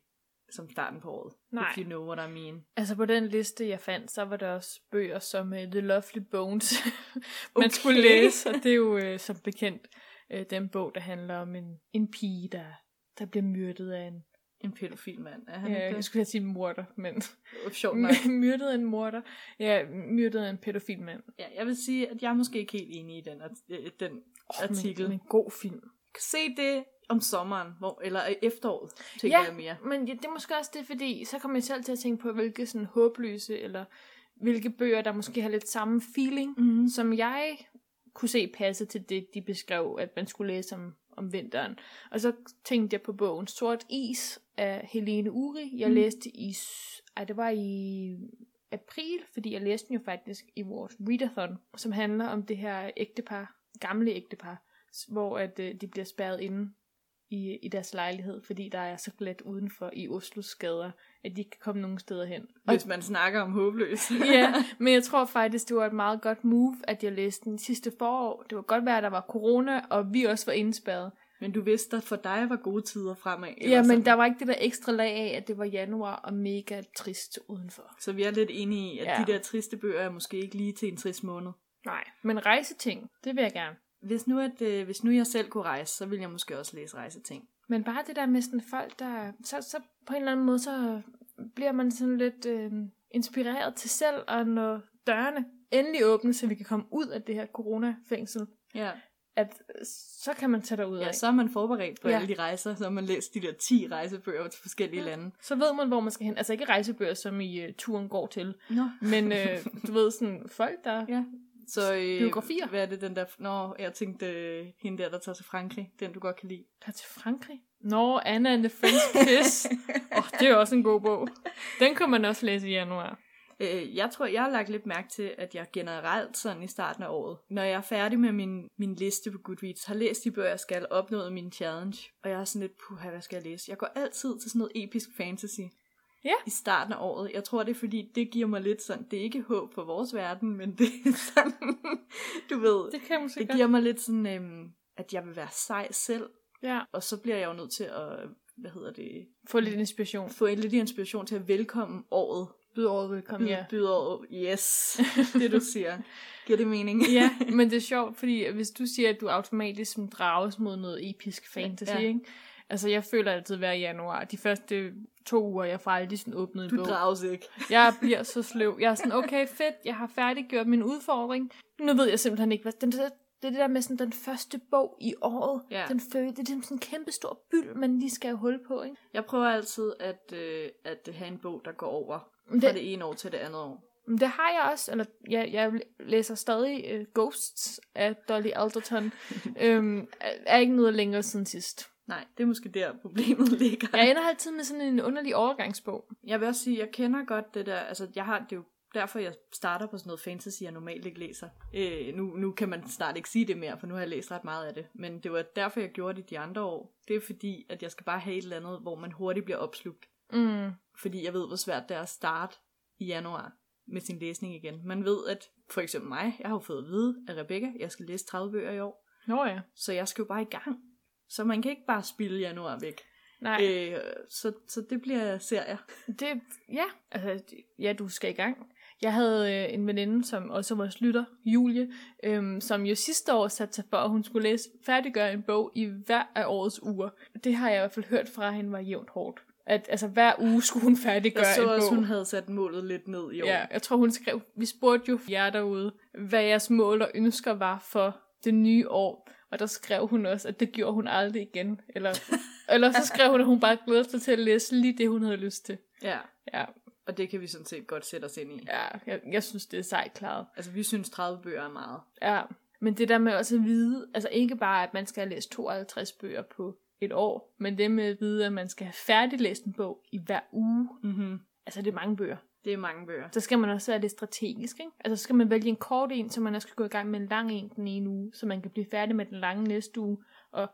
A: som starten på året.
B: Nej.
A: If you know what I mean.
B: Altså på den liste, jeg fandt, så var der også bøger som uh, The Lovely Bones, man
A: Okay.
B: skulle læse, og det er jo uh, som bekendt uh, den bog, der handler om en, en pige, der, der bliver myrdet af en,
A: En pædofil mand, er han
B: ja,
A: ikke
B: jeg
A: det?
B: skulle have sige morder, men
A: Sjovt nok.
B: myrdet af en morder, ja, myrdet af en pædofil mand.
A: Ja, jeg vil sige, at jeg er måske ikke helt enig i den, art- øh, den
B: Åh, men-
A: artikel.
B: Men en god film.
A: Se det, om sommeren, hvor, eller i efteråret, tænker
B: Ja.
A: jeg mere.
B: Men ja, det er måske også det, fordi så kommer jeg selv til at tænke på, hvilke sådan håbløse, eller hvilke bøger, der måske har lidt samme feeling,
A: Mm.
B: som jeg kunne se passe til det, de beskrev, at man skulle læse om, om vinteren. Og så tænkte jeg på bogen Sort Is af Helene Uri. Jeg
A: Mm.
B: mm. læste i... s- Ej, det var i april, fordi jeg læste den jo faktisk i vores readathon, som handler om det her ægtepar, gamle ægtepar, s- hvor at, øh, de bliver spærret inde i, i deres lejlighed, fordi der er så glat udenfor i Oslos gader, at de ikke kan komme nogen steder hen. Og
A: Hvis man snakker om håbløs.
B: ja, men jeg tror faktisk, det var et meget godt move, at jeg læste den sidste forår. Det var godt være, at der var corona, og vi også var indspærret.
A: Men du vidste, at for dig var gode tider fremad. eller
B: Ja,
A: sådan.
B: men der var ikke det der ekstra lag af, at det var januar og mega trist udenfor.
A: Så vi er lidt enige i, at
B: Ja.
A: de der triste bøger er måske ikke lige til en trist måned.
B: Nej, men rejseting, det vil jeg gerne.
A: Hvis nu, at, øh, hvis nu jeg selv kunne rejse, så ville jeg måske også læse rejseting.
B: Men bare det der med sådan folk, der... Så, så på en eller anden måde, så bliver man sådan lidt øh, inspireret til selv, og når dørene endelig åbnes, så vi kan komme ud af det her corona-fængsel,
A: Ja.
B: at øh, så kan man tage derud af.
A: ja, så er man forberedt på ja.
B: Ja. Mm.
A: alle de rejser, så har man læst de der 10 rejsebøger til forskellige ja.
B: Ja.
A: lande.
B: Så ved man, hvor man skal hen. Altså ikke rejsebøger, som i uh, turen går til,
A: Nå.
B: men uh, du ved sådan folk, der...
A: Ja. Så øh,
B: Biografier.
A: Hvad er det den der... Nå, jeg tænkte øh, hende der, der tager til Frankrig. Den, du godt kan lide.
B: Tager til Frankrig. Nå, Anna and the French Kiss. Åh, oh, det er også en god bog. Den kan man også læse i januar.
A: Øh, jeg tror, jeg har lagt lidt mærke til, at jeg generelt sådan i starten af året, når jeg er færdig med min, min liste på Goodreads, har læst de bøger, jeg skal, opnået min challenge, og jeg er sådan lidt, puha, hvad skal jeg læse? Jeg går altid til sådan noget episk fantasy.
B: Ja.
A: I starten af året. Jeg tror, det er fordi, det giver mig lidt sådan, det er ikke håb for vores verden, men det er sådan, du ved, det,
B: Det kan jeg måske
A: det
B: godt.
A: giver mig lidt sådan, øhm, at jeg vil være sej selv,
B: Ja.
A: og så bliver jeg jo nødt til at, hvad hedder det,
B: Få lidt inspiration.
A: få en lidt inspiration til at velkomme året
B: Byd over velkommen,
A: Byd,
B: ja.
A: byder over. Yes, det du siger. Giver det mening?
B: ja, men det er sjovt, fordi hvis du siger, at du automatisk som drages mod noget episk fantasy,
A: Ja.
B: ja. ikke? Altså, jeg føler altid hver januar, de første to uger, jeg får aldrig sådan åbnet en
A: Du
B: bog.
A: drages ikke.
B: Jeg bliver så sløv. Jeg er sådan, okay, fedt, jeg har færdiggjort min udfordring. Nu ved jeg simpelthen ikke, hvad... Den, det er det der med sådan, den første bog i året.
A: Ja.
B: Den føle, det er ligesom sådan en kæmpe stor byld, man lige skal have hul på, ikke?
A: Jeg prøver altid at, øh, at have en bog, der går over
B: Men
A: fra
B: det,
A: det ene år til det andet år.
B: men det har jeg også, eller jeg, jeg læser stadig uh, Ghosts af Dolly Alderton. øhm, er- er ikke noget længere siden sidst.
A: Nej, det er måske der problemet ligger.
B: Jeg ender altid med sådan en underlig overgangsbog.
A: Jeg vil også sige, jeg kender godt det der, altså jeg har det er jo derfor, jeg starter på sådan noget fantasy, jeg normalt ikke læser. Øh, nu, nu kan man snart ikke sige det mere, for nu har jeg læst ret meget af det. Men det var derfor, jeg gjorde det de andre år. Det er fordi, at jeg skal bare have et eller andet, hvor man hurtigt bliver opslugt.
B: Mm.
A: fordi jeg ved, hvor svært det er at starte i januar med sin læsning igen. Man ved, at for eksempel mig, jeg har jo fået at vide af Rebecca, jeg skal læse 30 bøger i år,
B: Nå ja.
A: så jeg skal jo bare i gang. Så man kan ikke bare spille januar væk.
B: Nej, øh.
A: Øh, så, så det bliver serier.
B: det, ja. Altså, det- ja, du skal i gang. Jeg havde øh, en veninde, som også var vores lytter, Julie, øhm, som jo sidste år satte sig for, at hun skulle læse, færdiggøre en bog i hver af årets uger. Det har jeg i hvert fald hørt fra hende var jævnt hårdt. At altså, hver uge skulle hun
A: Jeg
B: færdiggøre en
A: så
B: bog.
A: også, hun havde sat målet lidt ned i år.
B: Ja, jeg tror, hun skrev, vi spurgte jo jer derude, hvad jeres mål og ønsker var for det nye år. Og der skrev hun også, at det gjorde hun aldrig igen. Eller, eller så skrev hun, at hun bare glædede sig til at læse lige det, hun havde lyst til.
A: ja.
B: Ja,
A: Og det kan vi sådan set godt sætte os ind i.
B: ja jeg, jeg synes, det er sejt klaret.
A: Altså, vi synes 30 bøger er meget.
B: Ja. Men det der med også at vide, altså ikke bare, at man skal have læst 52 bøger på et år, men det med at vide, at man skal have færdiglæst en bog i hver uge.
A: Mm-hmm.
B: Altså, det er mange bøger.
A: Det er mange bøger.
B: Så skal man også være lidt strategisk, ikke? Altså, så skal man vælge en kort en, så man også kan gå i gang med en lang en den ene uge, så man kan blive færdig med den lange næste uge, og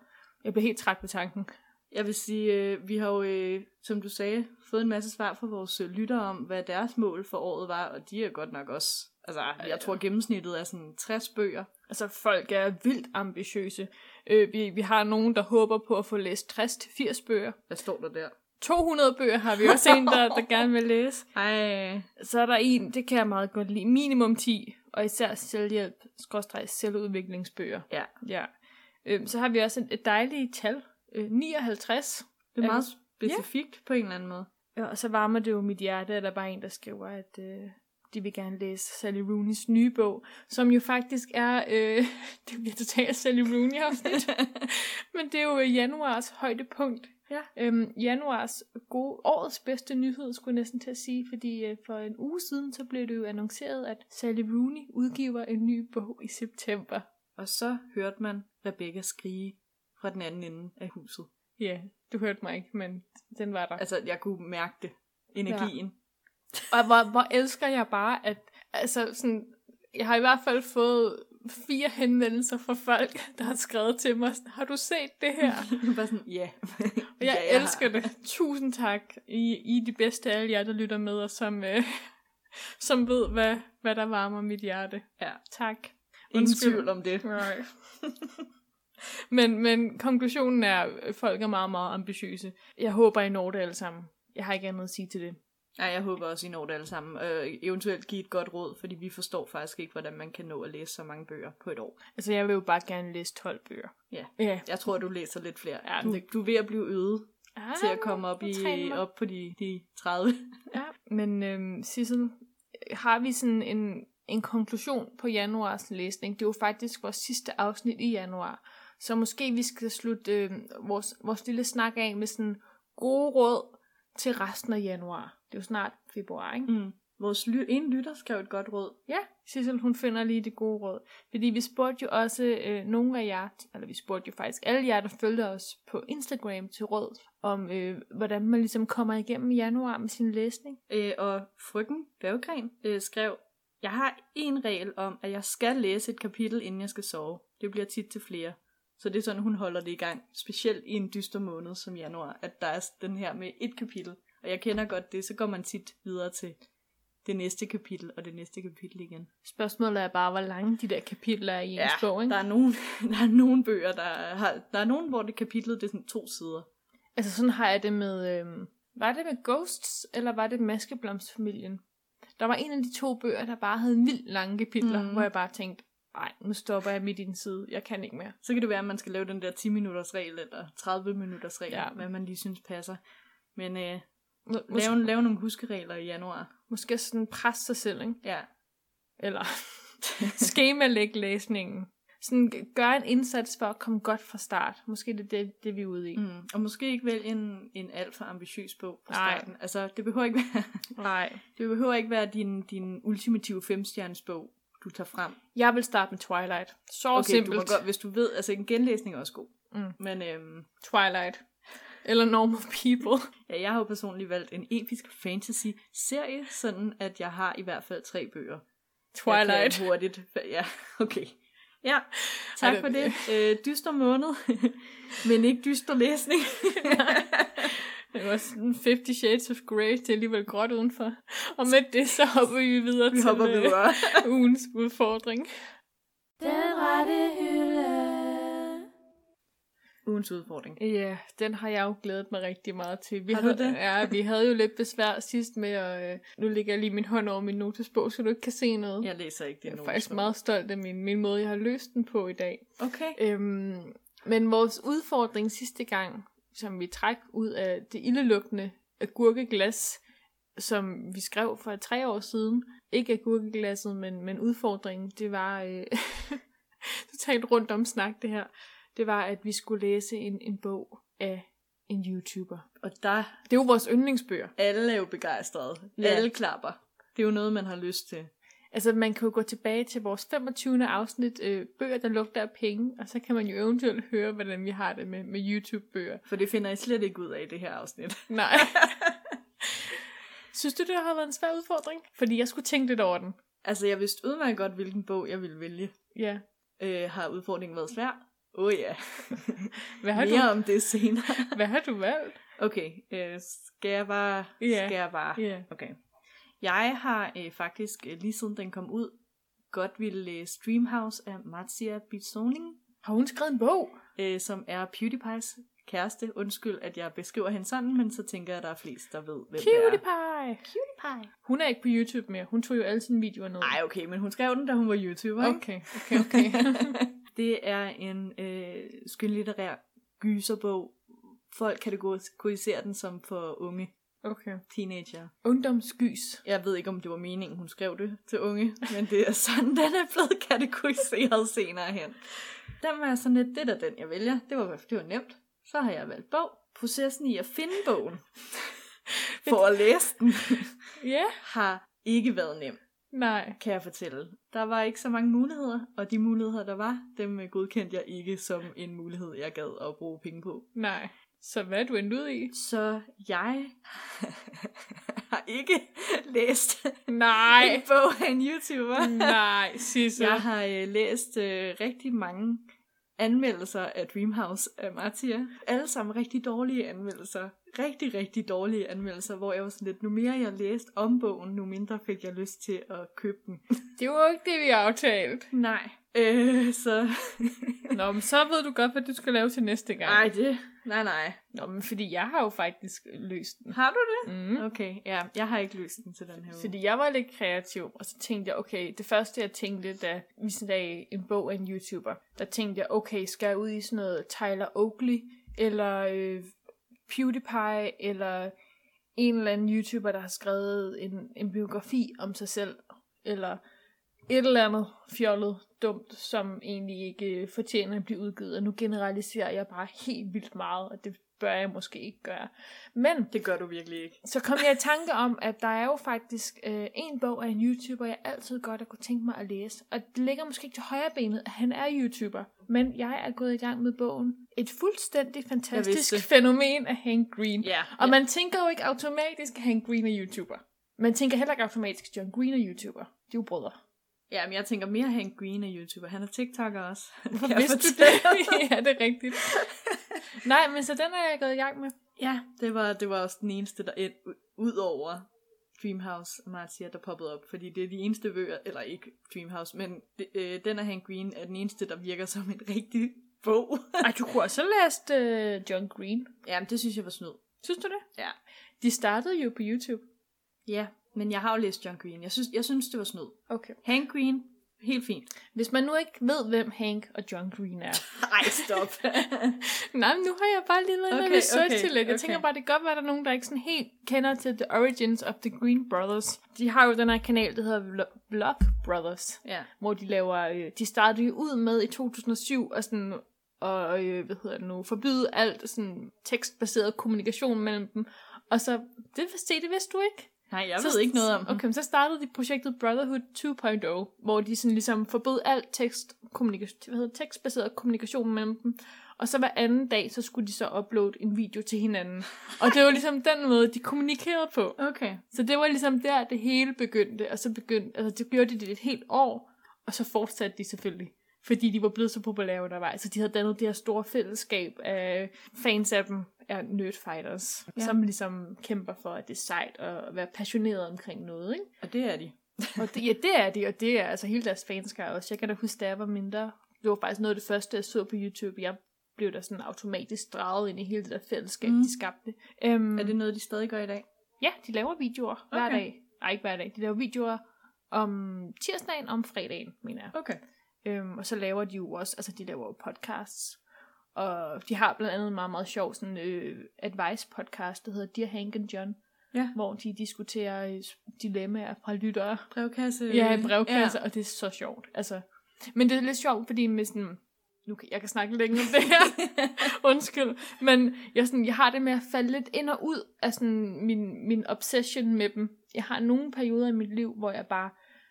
B: jeg bliver helt træt ved tanken.
A: Jeg vil sige, øh, vi har jo, øh, som du sagde, fået en masse svar fra vores øh, lyttere om, hvad deres mål for året var, og de er godt nok også... Altså, jeg tror gennemsnittet er sådan 60 bøger.
B: Altså, folk er vildt ambitiøse. Øh, vi, vi har nogen, der håber på at få læst 60-80 bøger.
A: Hvad står der der?
B: 200 bøger har vi også en, der, der gerne vil læse.
A: Ej,
B: Så er der en, det kan jeg meget godt lide, minimum 10, og især selvhjælp, skråstreg selvudviklingsbøger.
A: Ja.
B: ja. Øh, så har vi også et, et dejligt tal, øh, 59.
A: det er
B: Ja.
A: meget specifikt på en eller anden måde.
B: Ja, og så varmer det jo mit hjerte, at der bare er en, der skriver, at øh, de vil gerne læse Sally Rooney's nye bog, som jo faktisk er, øh, det bliver totalt Sally Rooney afsnit, men det er jo øh, januars højdepunkt.
A: Ja.
B: Øhm, januars gode, årets bedste nyhed, skulle jeg næsten til at sige, fordi øh, for en uge siden, så blev det jo annonceret, at Sally Rooney udgiver en ny bog i september.
A: Og så hørte man Rebecca skrige fra den anden ende af huset.
B: Ja, du hørte mig ikke, men den var der.
A: Altså, jeg kunne mærke det. Energien. Ja.
B: Og hvor, hvor elsker jeg bare, at altså sådan, jeg har i hvert fald fået fire henvendelser fra folk, der har skrevet til mig, sådan, har du set det her?
A: Bare sådan, ja.
B: Og jeg,
A: Ja,
B: ja, jeg elsker det. Tusind tak. I, I er de bedste af alle jer, der lytter med, og som, øh, som ved, hvad, hvad der varmer mit hjerte.
A: Ja.
B: Tak.
A: Ingen
B: Undskyld.
A: tvivl om det.
B: Right. men, men konklusionen er, at folk er meget, meget ambitiøse. Jeg håber, I når det alle sammen. Jeg har ikke andet at sige til det.
A: Nej, jeg håber også, I når det alle sammen. Øh, eventuelt give et godt råd, fordi vi forstår faktisk ikke, hvordan man kan nå at læse så mange bøger på et år.
B: Altså, jeg vil jo bare gerne læse 12 bøger.
A: Ja.
B: Ja.
A: Jeg tror, du læser lidt flere.
B: Ja,
A: du, du er ved at blive øget
B: Ah,
A: til at komme op,
B: jeg træner
A: i,
B: mig.
A: op på de, de 30.
B: Ja. Men øhm, Sissel, har vi sådan en, en konklusion på januars læsning? Det er jo faktisk vores sidste afsnit i januar. Så måske vi skal slutte øhm, vores, vores lille snak af med sådan gode råd til resten af januar. Det er jo snart februar, ikke?
A: Mm. Vores ly- ene lytter skrev et godt råd.
B: Ja, Sissel, hun finder lige det gode råd. Fordi vi spurgte jo også øh, nogle af jer, eller vi spurgte jo faktisk alle jer, der følger os på Instagram til råd, om øh, hvordan man ligesom kommer igennem januar med sin læsning.
A: Øh, og frygten Berggren øh, skrev, Jeg har en regel om, at jeg skal læse et kapitel, inden jeg skal sove. Det bliver tit til flere. Så det er sådan, hun holder det i gang. Specielt i en dyster måned som januar, at der er den her med et kapitel. Og jeg kender godt det, så går man tit videre til det næste kapitel og det næste kapitel igen.
B: Spørgsmålet er bare, hvor lange de der kapitler er i ens bog, ikke?
A: der er nogen, der er nogen bøger, der har, der er nogen, hvor det kapitlet det er sådan to sider.
B: Altså sådan har jeg det med, øhm, var det med Ghosts, eller var det Maskeblomstfamilien? Der var en af de to bøger, der bare havde vildt lange kapitler,
A: Mhm.
B: mm. hvor jeg bare tænkte, nej, nu stopper jeg midt i den side, jeg kan ikke mere.
A: Så kan det være, at man skal lave den der 10-minutters regel eller 30-minutters regel, ja.
B: Ja.
A: hvad man lige synes passer. Men øh,
B: Må-
A: Lave,
B: Mås-
A: lave nogle huskeregler i januar.
B: måske sådan presse sig selv, ikke?
A: Ja.
B: eller skemalæg læsningen. Sådan g- gør en indsats for at komme godt fra start. Måske det er det, det vi er ude i.
A: Mm. Og måske ikke vælge en, en alt for ambitiøs bog på
B: Nej.
A: starten. Altså, det behøver ikke være,
B: Nej.
A: det behøver ikke være din, din ultimative femstjernes bog, du tager frem.
B: Jeg vil starte med Twilight. Så okay,
A: du må
B: simpelt.
A: godt, hvis du ved, altså en genlæsning er også god.
B: Mm.
A: Men øhm,
B: Twilight. Eller Normal People.
A: ja, jeg har jo personligt valgt en episk fantasy-serie, sådan at jeg har i hvert fald tre bøger. Jeg
B: Twilight.
A: kan hurtigt. Ja, okay. Ja, tak
B: Ej,
A: for
B: den-
A: det. Øh, dyster måned, men ikke dyster læsning.
B: Det var sådan 50 Shades of Grey. Det er alligevel gråt udenfor. Og med det, så hopper vi videre
A: Vi
B: til
A: hopper
B: øh,
A: videre.
B: ugens udfordring.
C: Den rette hylde.
A: Ugens udfordring.
B: Ja, den har jeg jo glædet mig rigtig meget til. Vi
A: Har du
B: havde,
A: det?
B: Ja, vi havde jo lidt besvær sidst med, at øh, nu lægger jeg lige min hånd over min notesbog, så du ikke kan se noget.
A: Jeg læser ikke
B: jeg
A: det
B: er faktisk meget stolt af min, min måde, jeg har løst den på i dag.
A: Okay.
B: Øhm, men vores udfordring sidste gang, som vi træk ud af det ildelugtende agurkeglas, som vi skrev for tre år siden, ikke agurkeglasset, men, men udfordringen, det var øh, totalt rundt om snak det her, det var, at vi skulle læse en, en bog af en YouTuber.
A: Og der
B: Det er jo vores yndlingsbøger.
A: alle er jo begejstrede. Ja.
B: Ja.
A: Alle klapper. Det er jo noget, man har lyst til.
B: Altså, man kan jo gå tilbage til vores 25. afsnit, øh, bøger, der lugter af penge, og så kan man jo eventuelt høre, hvordan vi har det med, med YouTube-bøger.
A: For det finder jeg slet ikke ud af i det her afsnit.
B: Nej. Synes du, det har været en svær udfordring? Fordi jeg skulle tænke lidt over den.
A: Altså, jeg vidste udmærket godt, hvilken bog jeg ville vælge.
B: Ja.
A: Øh, har udfordringen været svær? Åh oh, ja.
B: Hvad har,
A: Mere
B: du,
A: om det senere.
B: hvad har du valgt?
A: Okay, øh, skal jeg bare?
B: Ja.
A: Skal jeg bare?
B: Ja.
A: Okay. Jeg har øh, faktisk, øh, lige siden den kom ud, godt ville læse Dreamhouse af Marzia Bitzoning.
B: Har hun skrevet en bog?
A: øh, som er PewDiePie's kæreste. Undskyld, at jeg beskriver hende sådan, men så tænker jeg, at der er flest, der ved, hvem det er.
B: PewDiePie!
A: PewDiePie.
B: Hun er ikke på YouTube mere. Hun tog jo alle sine videoer ned.
A: Nej, okay, men hun skrev den, da hun var YouTuber, ikke?
B: Okay, okay, okay.
A: det er en øh, skønlitterær gyserbog. Folk kategoriserer den som for unge.
B: Okay.
A: teenager.
B: Ungdomsgys.
A: Jeg ved ikke, om det var meningen, hun skrev det til unge, men det er sådan, den er blevet kategoriseret senere hen. Den var jeg sådan lidt, det er da den, jeg vælger. Det var, det var nemt. Så har jeg valgt bog. Processen i at finde bogen, for at læse den,
B: Ja. Yeah.
A: har ikke været nem,
B: Nej.
A: kan jeg fortælle. Der var ikke så mange muligheder, og de muligheder, der var, dem øh, godkendte jeg ikke som en mulighed, jeg gad at bruge penge på.
B: Nej. Så hvad er du endt ud i?
A: Så jeg har ikke læst en
B: Nej. Mm,
A: bog af en YouTuber.
B: Nej, Sisse.
A: Jeg har øh, læst øh, rigtig mange anmeldelser af Dreamhouse af Martia. Alle sammen rigtig dårlige anmeldelser. Rigtig, rigtig dårlige anmeldelser, hvor jeg var sådan lidt, nu mere jeg læste om bogen, nu mindre fik jeg lyst til at købe den.
B: Det var jo ikke det, vi aftalte.
A: Nej. Øh, så...
B: Nå, men så ved du godt, hvad du skal lave til næste gang.
A: Nej, det... Nej, nej.
B: Nå, men fordi jeg har jo faktisk løst den.
A: Har du det?
B: Mm.
A: Okay, ja. Jeg har ikke løst den til den her uge.
B: Fordi jeg var lidt kreativ, og så tænkte jeg, okay, det første jeg tænkte, da vi sagde en bog af en YouTuber, der tænkte jeg, okay, skal jeg ud i sådan noget Tyler Oakley, eller øh, PewDiePie, eller en eller anden YouTuber, der har skrevet en, en biografi om sig selv, eller et eller andet fjollet dumt, som egentlig ikke øh, fortjener at blive udgivet, og nu generaliserer jeg bare helt vildt meget, og det bør jeg måske ikke gøre. Men
A: Det gør du virkelig ikke.
B: så kom jeg i tanke om, at der er jo faktisk øh, en bog af en YouTuber, jeg altid godt har kunne tænke mig at læse. Og det ligger måske ikke til højre benet, at han er YouTuber. Men jeg er gået i gang med bogen. Et fuldstændig fantastisk
A: det.
B: fænomen af Hank Green.
A: Ja.
B: Og man tænker jo ikke automatisk, at Hank Green er YouTuber. Man tænker heller ikke automatisk, at John Green er YouTuber. De er jo brødre.
A: Ja, men jeg tænker mere Hank Green er YouTuber. Han er TikToker også. Kan
B: Hvorfor
A: jeg
B: vidste du
A: fortælle?
B: det? ja, det er rigtigt. Nej, men så den er jeg gået i gang med.
A: Ja, det var, det var også den eneste, der end, ud over Dreamhouse og Marcia, der poppede op. Fordi det er de eneste bøger, eller ikke Dreamhouse, men det, øh, den af Hank Green er den eneste, der virker som en rigtig bog.
B: Ej, du kunne også have læst øh, John Green.
A: Jamen, det synes jeg var snyd.
B: Synes du det?
A: Ja.
B: De startede jo på YouTube.
A: Ja, men jeg har jo læst John Green. Jeg synes, jeg synes det var snyd.
B: Okay.
A: Hank Green, helt fint.
B: Hvis man nu ikke ved, hvem Hank og John Green er.
A: Ej, stop.
B: Nej, men nu har jeg bare lige lavet okay,
A: Okay,
B: noget research
A: okay,
B: til det. Jeg
A: okay.
B: tænker bare, det kan godt være, at der er nogen, der ikke sådan helt kender til The Origins of the Green Brothers. De har jo den her kanal, der hedder Vlo- Vlog Brothers,
A: ja.
B: hvor de laver... Øh, de startede jo ud med i 2007 og sådan og øh, hvad hedder det nu, forbyde alt sådan tekstbaseret kommunikation mellem dem. Og så, det, vidste- det vidste du ikke?
A: Nej, jeg
B: Så-
A: ved ikke noget om
B: Okay, men så startede de projektet Brotherhood 2.0, hvor de sådan ligesom forbød alt tekst, kommunikation, hvad hedder, det, tekstbaseret kommunikation mellem dem. Og så hver anden dag, så skulle de så uploade en video til hinanden. Og det var ligesom den måde, de kommunikerede på.
A: Okay.
B: Så det var ligesom der, det hele begyndte. Og så begyndte, altså det gjorde de det et helt år, og så fortsatte de selvfølgelig. Fordi de var blevet så populære undervejs, så de havde dannet det her store fællesskab af fans af dem, er nerdfighters, ja.
A: Ja.
B: som ligesom kæmper for, at det er sejt at være passioneret omkring noget, ikke?
A: Og det er de.
B: Og det, ja, det er de, og det er altså hele deres fanskare også. Jeg kan da huske, da jeg var mindre, det var faktisk noget af det første, jeg så på YouTube. Jeg blev da sådan automatisk draget ind i hele det der fællesskab, mm.
A: Mm.
B: de skabte. Um,
A: Er det noget, de stadig gør i dag?
B: Ja, de laver videoer hver
A: Okay.
B: dag. Nej, ikke hver dag. De laver videoer om tirsdagen og om fredagen, mener jeg.
A: Okay.
B: Øhm, og så laver de jo også, altså de laver jo podcasts. Og de har blandt andet en meget, meget sjov sådan, øh, advice podcast, der hedder Dear Hank and John.
A: Ja.
B: Hvor de diskuterer øh, dilemmaer fra lyttere.
A: Brevkasse.
B: Ja, i brevkasser, ja. og det er så sjovt. Altså, men det er lidt sjovt, fordi med sådan, nu kan, jeg kan snakke længe om det her, undskyld, men jeg, sådan, jeg har det med at falde lidt ind og ud af sådan min, min obsession med dem. Jeg har nogle perioder i mit liv, hvor jeg bare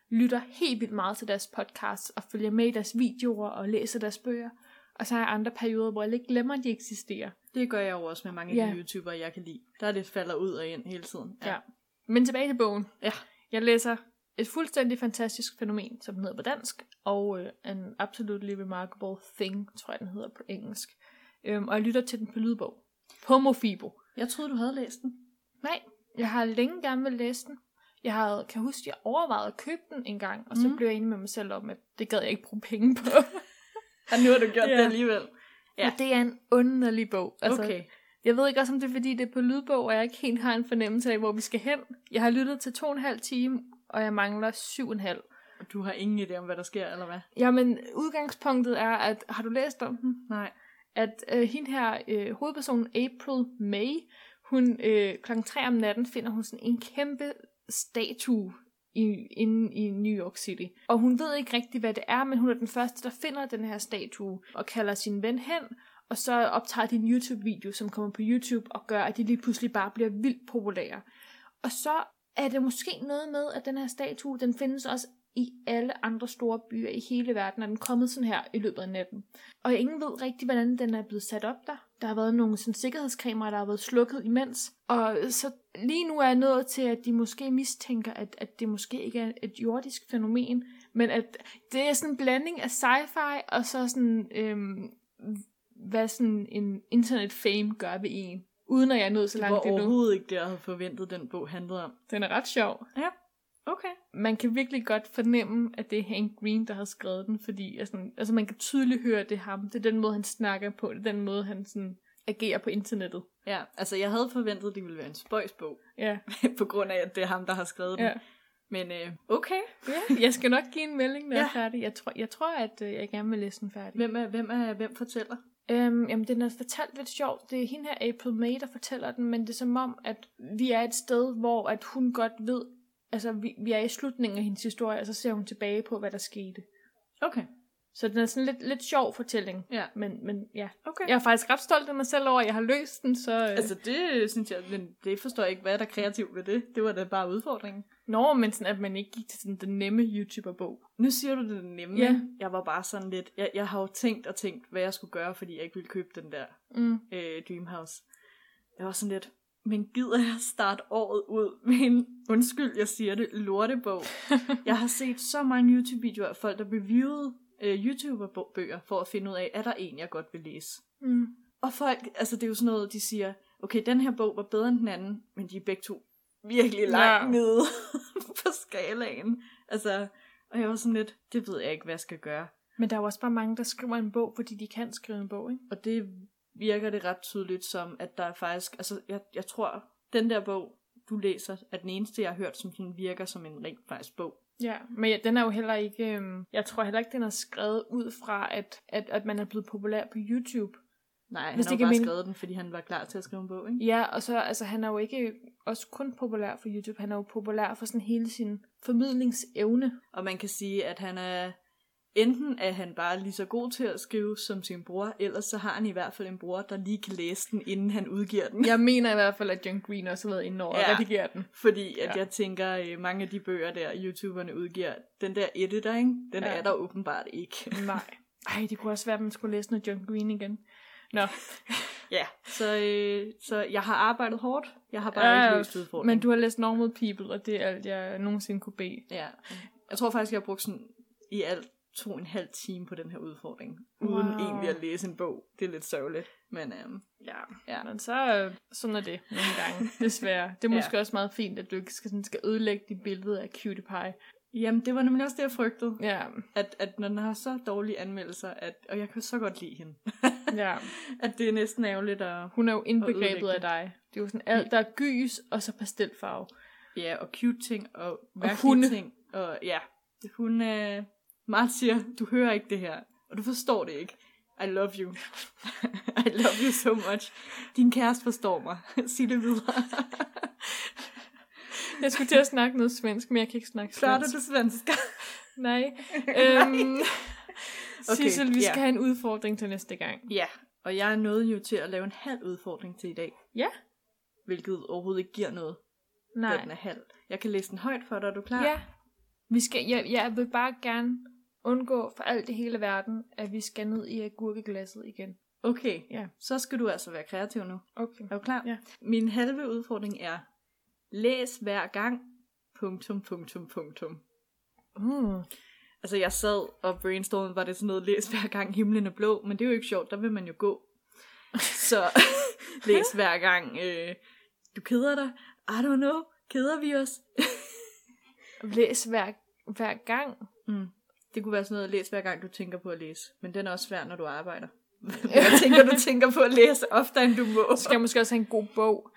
B: lytter helt vildt meget til deres podcast, og følger med i deres videoer, og læser deres bøger. Og så har jeg andre perioder, hvor jeg lidt glemmer, at de eksisterer.
A: Det gør jeg jo også med mange af
B: Ja.
A: de YouTubere, jeg kan lide. Der er det falder ud og ind hele tiden.
B: Ja. Men tilbage til bogen.
A: Ja.
B: Jeg læser et fuldstændig fantastisk fænomen, som den hedder på dansk, og øh, An Absolutely Remarkable Thing, tror jeg den hedder på engelsk. Øhm, og jeg lytter til den på lydbog. Homofibo.
A: Jeg troede, du havde læst den.
B: Nej, jeg har længe gerne vil læse den. Jeg havde, kan huske, jeg overvejede at købe den en gang, og så
A: Mm.
B: blev jeg enig med mig selv om, at det gad jeg ikke bruge penge på.
A: Og nu har du gjort
B: Ja.
A: det alligevel.
B: ja.
A: Ja.
B: Men det er en underlig bog.
A: Altså, okay.
B: Jeg ved ikke også, om det er, fordi det er på lydbog, og jeg ikke helt har en fornemmelse af, hvor vi skal hen. Jeg har lyttet til to og en halv time, og jeg mangler syv og en halv.
A: Du har ingen idé om, hvad der sker, eller hvad?
B: Jamen, udgangspunktet er, at har du læst om den?
A: Nej.
B: At øh, hende her, øh, hovedpersonen April May, Hun, øh, klokken 3 om natten finder hun sådan en kæmpe statue i, inde i New York City. Og hun ved ikke rigtigt, hvad det er, men hun er den første, der finder den her statue og kalder sin ven hen, og så optager de en YouTube-video, som kommer på YouTube og gør, at de lige pludselig bare bliver vildt populære. Og så er det måske noget med, at den her statue, den findes også i alle andre store byer i hele verden, og den er kommet sådan her i løbet af natten. Og ingen ved rigtig, hvordan den er blevet sat op der. Der har været nogle sådan, sikkerhedskameraer, der har været slukket imens. Og så lige nu er jeg nået til, at de måske mistænker, at, at det måske ikke er et jordisk fænomen, men at det er sådan en blanding af sci-fi og så sådan, øhm, hvad sådan en internet fame gør ved en. Uden at jeg er nået så
A: Det var
B: langt endnu.
A: overhovedet ikke det, jeg havde forventet, den bog handlede om.
B: Den er ret sjov.
A: Ja, okay.
B: man kan virkelig godt fornemme, at det er Hank Green, der har skrevet den, fordi altså, altså man kan tydeligt høre, at det er ham. Det er den måde, han snakker på, det er den måde, han sådan, agerer på internettet.
A: Ja, altså jeg havde forventet, det ville være en spøjsbog,
B: Ja,
A: på grund af, at det er ham, der har skrevet den.
B: ja.
A: Ja. Men øh, okay.
B: ja. Jeg skal nok give en melding, når ja. jeg
A: Ja.
B: er færdig. Jeg tror, jeg tror at øh, jeg gerne vil læse den færdig.
A: Hvem, er, hvem, er, hvem fortæller?
B: Øhm, jamen, den er fortalt lidt sjovt. Det er hende her, April May, der fortæller den, men det er som om, at vi er et sted, hvor at hun godt ved, altså vi, vi er i slutningen af hendes historie, og så ser hun tilbage på, hvad der skete.
A: Okay.
B: Så den er sådan lidt, lidt sjov fortælling.
A: Ja.
B: Men, men ja,
A: Okay.
B: Jeg er faktisk ret stolt af mig selv over, at jeg har løst den, så... Øh... Altså,
A: Altså det synes jeg, men det forstår jeg ikke, hvad er der kreativt ved det. Det var da bare udfordringen.
B: Nå, men sådan, at man ikke gik til sådan, den nemme YouTuber-bog.
A: Nu siger du det nemme.
B: Ja.
A: Jeg var bare sådan lidt, jeg, jeg har jo tænkt og tænkt, hvad jeg skulle gøre, fordi jeg ikke ville købe den der
B: Mm.
A: øh, Dreamhouse. Jeg var sådan lidt, men gider jeg starte året ud med en, undskyld jeg siger det, lortebog? jeg har set så mange YouTube-videoer af folk, der reviewede øh, YouTuber-bøger, for at finde ud af, er der en, jeg godt vil læse?
B: Mm.
A: Og folk, altså det er jo sådan noget, de siger, okay, den her bog var bedre end den anden, men de er begge to virkelig langt
B: Ja.
A: ja. nede på skalaen. Altså, og jeg var sådan lidt, det ved jeg ikke, hvad jeg skal gøre.
B: Men der er jo også bare mange, der skriver en bog, fordi de kan skrive en bog, ikke?
A: Og det virker det ret tydeligt som, at der er faktisk, altså jeg, jeg tror, den der bog, du læser, er den eneste, jeg har hørt, som sådan virker som en rent faktisk bog.
B: Ja, men ja, den er jo heller ikke... Øh... Jeg tror heller ikke, den er skrevet ud fra, at, at, at man er blevet populær på YouTube.
A: Nej,
B: Hvis
A: Hvis han har
B: det
A: jo
B: giver
A: bare
B: mening.
A: skrevet den, fordi han var klar til at skrive en bog, ikke?
B: Ja, og så, altså, han er jo ikke også kun populær for YouTube. Han er jo populær for sådan hele sin formidlingsevne.
A: Og man kan sige, at han er, enten er han bare lige så god til at skrive som sin bror, ellers så har han i hvert fald en bror, der lige kan læse den, inden han udgiver den.
B: Jeg mener i hvert fald, at John Green også har været inde over ja.
A: Ja.
B: at redigere den.
A: Fordi at
B: Ja.
A: ja. jeg tænker, øh, mange af de bøger der, youtuberne udgiver, den der editor, ikke? den
B: Ja.
A: ja. er der åbenbart ikke.
B: Nej. Ej, det kunne også være, at man skulle læse noget John Green igen. Nå,
A: Ja, så, øh, så jeg har arbejdet hårdt. Jeg har bare
B: Ja,
A: ikke løst udfordringen.
B: men du har læst Normal People, og det er alt, jeg nogensinde kunne bede.
A: Ja. Jeg tror faktisk, jeg har brugt sådan i alt to og en halv time på den her udfordring. Uden
B: Wow.
A: egentlig at læse en bog. Det er lidt sørgeligt. Men øhm,
B: Ja.
A: Ja.
B: Men så, øh, sådan er det nogle gange, desværre. Det er
A: Ja.
B: måske også meget fint, at du ikke skal, sådan, skal ødelægge dit billede af Cutie Pie.
A: jamen, det var nemlig også det, jeg frygtede.
B: Ja,
A: At, at når den har så dårlige anmeldelser, at, og jeg kan så godt lide hende,
B: ja.
A: at det er næsten ærgerligt at...
B: Hun er jo indbegrebet
A: ødelægge
B: af dig. Det er jo sådan alt, der er gys, og så pastelfarve.
A: Ja, og cute ting, og mærkelige
B: hunde.
A: ting. Og ja, hun er... Øh, Mart siger, du hører ikke det her, og du forstår det ikke. I love you. I love you so much. Din kæreste forstår mig. Sig det videre.
B: Jeg skulle til at snakke noget svensk, men jeg kan ikke snakke
A: Klarer du
B: svensk.
A: det svensk?
B: Nej. Øhm, okay, Sissel,
A: ja.
B: vi skal have en udfordring til næste gang.
A: Ja, og jeg nåede jo til at lave en halv udfordring til i dag.
B: Ja.
A: Hvilket overhovedet ikke giver noget,
B: Nej.
A: da den er halv. Jeg kan læse den højt for dig, er du klar?
B: Ja. Vi skal, jeg, jeg vil bare gerne undgå for alt i hele verden, at vi skal ned i agurkeglasset igen.
A: Okay,
B: Ja.
A: så skal du altså være kreativ nu.
B: Okay.
A: Er du klar?
B: Ja.
A: Min halve udfordring er, læs hver gang, punktum, punktum, punktum.
B: Mm.
A: Altså jeg sad og brainstormede, var det sådan noget, læs hver gang himlen er blå, men det er jo ikke sjovt, der vil man jo gå. Så læs hver gang, øh, du keder dig, I don't know, keder vi os?
B: Læs hver, hver gang.
A: Mm. Det kunne være sådan noget, læs hver gang du tænker på at læse. Men den er også svær, når du arbejder. jeg tænker, du tænker på at læse oftere, end du må.
B: Så skal jeg måske også have en god bog.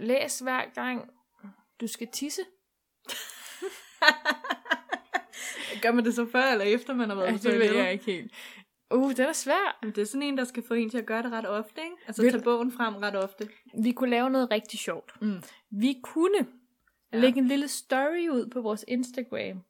B: Læs hver gang, du skal tisse.
A: Gør man det så før eller efter, man har været på toilettet?
B: ikke helt. Uh, den er svær.
A: Men det er sådan en, der skal få en til at gøre det ret ofte, ikke? Altså
B: Vil-
A: tage bogen frem ret ofte.
B: Vi kunne lave noget rigtig sjovt.
A: Mm.
B: Vi kunne
A: Ja.
B: ja. lægge en lille story ud på vores Instagram.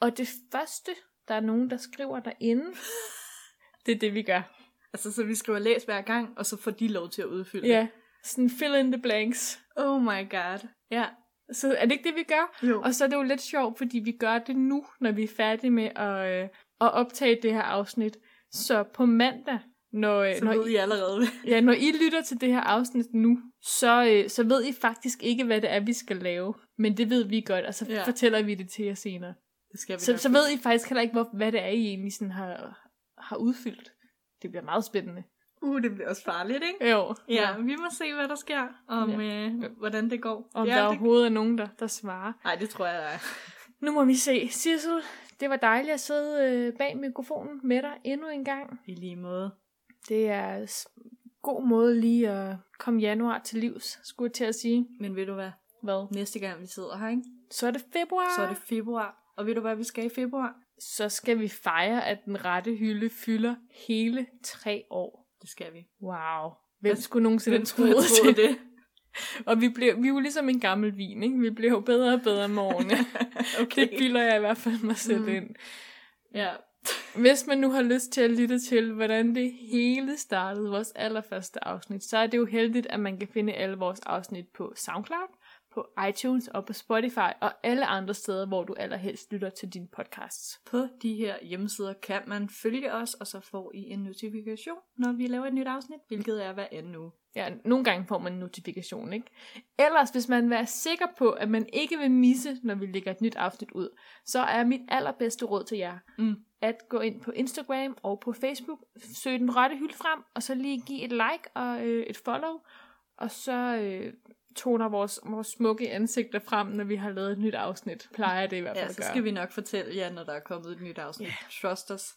B: Og det første, der er nogen, der skriver derinde, det er det, vi gør.
A: Altså, så vi skriver læs hver gang, og så får de lov til at udfylde det.
B: Ja, sådan fill in the blanks.
A: Oh my god. Ja.
B: Så er det ikke det, vi gør?
A: Jo.
B: Og så er det jo lidt sjovt, fordi vi gør det nu, når vi er færdige med at, øh, at optage det her afsnit. Så på mandag, når, øh,
A: så
B: når,
A: ved I allerede.
B: Ja, når I lytter til det her afsnit nu, så, øh, så ved I faktisk ikke, hvad det er, vi skal lave. Men det ved vi godt, og så
A: Ja.
B: ja. fortæller vi det til jer senere.
A: Det skal vi
B: Så,
A: nok.
B: så ved I faktisk heller ikke, hvor, hvad det er, I egentlig sådan har, har udfyldt. Det bliver meget spændende.
A: Uh, det bliver også farligt, ikke?
B: Jo.
A: Ja, vi må se, hvad der sker, om
B: Ja.
A: øh, hvordan det går.
B: Om
A: ja,
B: ja, der
A: det...
B: overhovedet er nogen, der, der svarer.
A: Nej, det tror jeg, der er.
B: Nu må vi se. Sissel, det var dejligt at sidde øh, bag mikrofonen med dig endnu en gang.
A: I lige måde.
B: Det er en god måde lige at komme januar til livs, skulle jeg til at sige.
A: Men ved du hvad?
B: Hvad?
A: Næste gang vi sidder her, ikke?
B: Så er det februar.
A: så er det februar. Og ved du, hvad vi skal i februar?
B: så skal vi fejre, at den rette hylde fylder hele tre år.
A: Det skal vi.
B: Wow. Hvem
A: Altså,
B: skulle nogensinde
A: Hvem skulle
B: tro
A: have troet
B: det?
A: det?
B: Og vi, blev, vi er jo ligesom en gammel vin, ikke? Vi bliver jo bedre og bedre med årene.
A: Okay.
B: Det bilder jeg i hvert fald mig selv
A: Mm.
B: mm. ind.
A: Ja,
B: Hvis man nu har lyst til at lytte til, hvordan det hele startede, vores allerførste afsnit, så er det jo heldigt, at man kan finde alle vores afsnit på SoundCloud, på iTunes og på Spotify og alle andre steder, hvor du allerhelst lytter til din podcast.
A: på de her hjemmesider kan man følge os, og så får I en notifikation, når vi laver et nyt afsnit, hvilket er hver anden uge.
B: Ja, nogle gange får man en notifikation, ikke? Ellers, hvis man vil være sikker på, at man ikke vil misse, når vi lægger et nyt afsnit ud, så er mit allerbedste råd til jer,
A: Mm.
B: at gå ind på Instagram og på Facebook, søg den rette hylde frem, og så lige give et like og øh, et follow, og så øh, toner vores, vores smukke ansigter frem, når vi har lavet et nyt afsnit. Plejer det i hvert fald
A: Ja,
B: at
A: så
B: gøre.
A: skal vi nok fortælle jer, når der er kommet et nyt afsnit. Yeah. Trust us.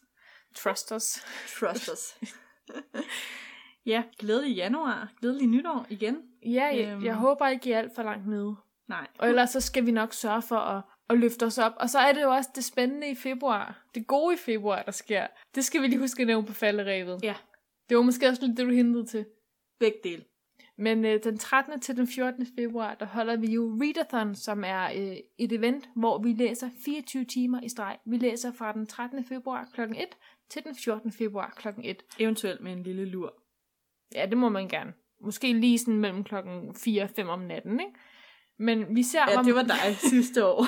B: Trust us.
A: Trust us. ja, glædelig januar. Glædelig nytår igen.
B: Ja, jeg,
A: Øhm.
B: jeg håber ikke, I er alt for langt nede.
A: Nej.
B: Og ellers så skal vi nok sørge for at, at løfte os op. Og så er det jo også det spændende i februar. Det gode i februar, der sker. Det skal vi lige huske at nævne på falderevet.
A: Ja.
B: Det var måske også lidt det, du hintede til.
A: Begge dele.
B: Men øh, den 13. til den 14. februar, der holder vi jo Readathon, som er øh, et event, hvor vi læser 24 timer i streg. Vi læser fra den 13. februar kl. 1 til den 14. februar kl. 1.
A: Eventuelt med en lille lur.
B: Ja, det må man gerne. Måske lige sådan mellem klokken 4 og 5 om natten, ikke? Men vi ser,
A: Ja,
B: hvor-
A: det var dig sidste år.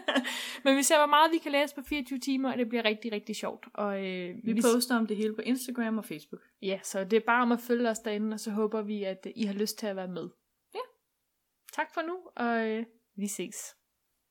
B: Men vi ser, hvor meget vi kan læse på 24 timer, og det bliver rigtig, rigtig sjovt. Og, øh,
A: Vi poster om det hele på Instagram og Facebook.
B: Ja, så det er bare om at følge os derinde, og så håber vi, at øh, I har lyst til at være med. Ja. Tak for nu, og øh, vi ses.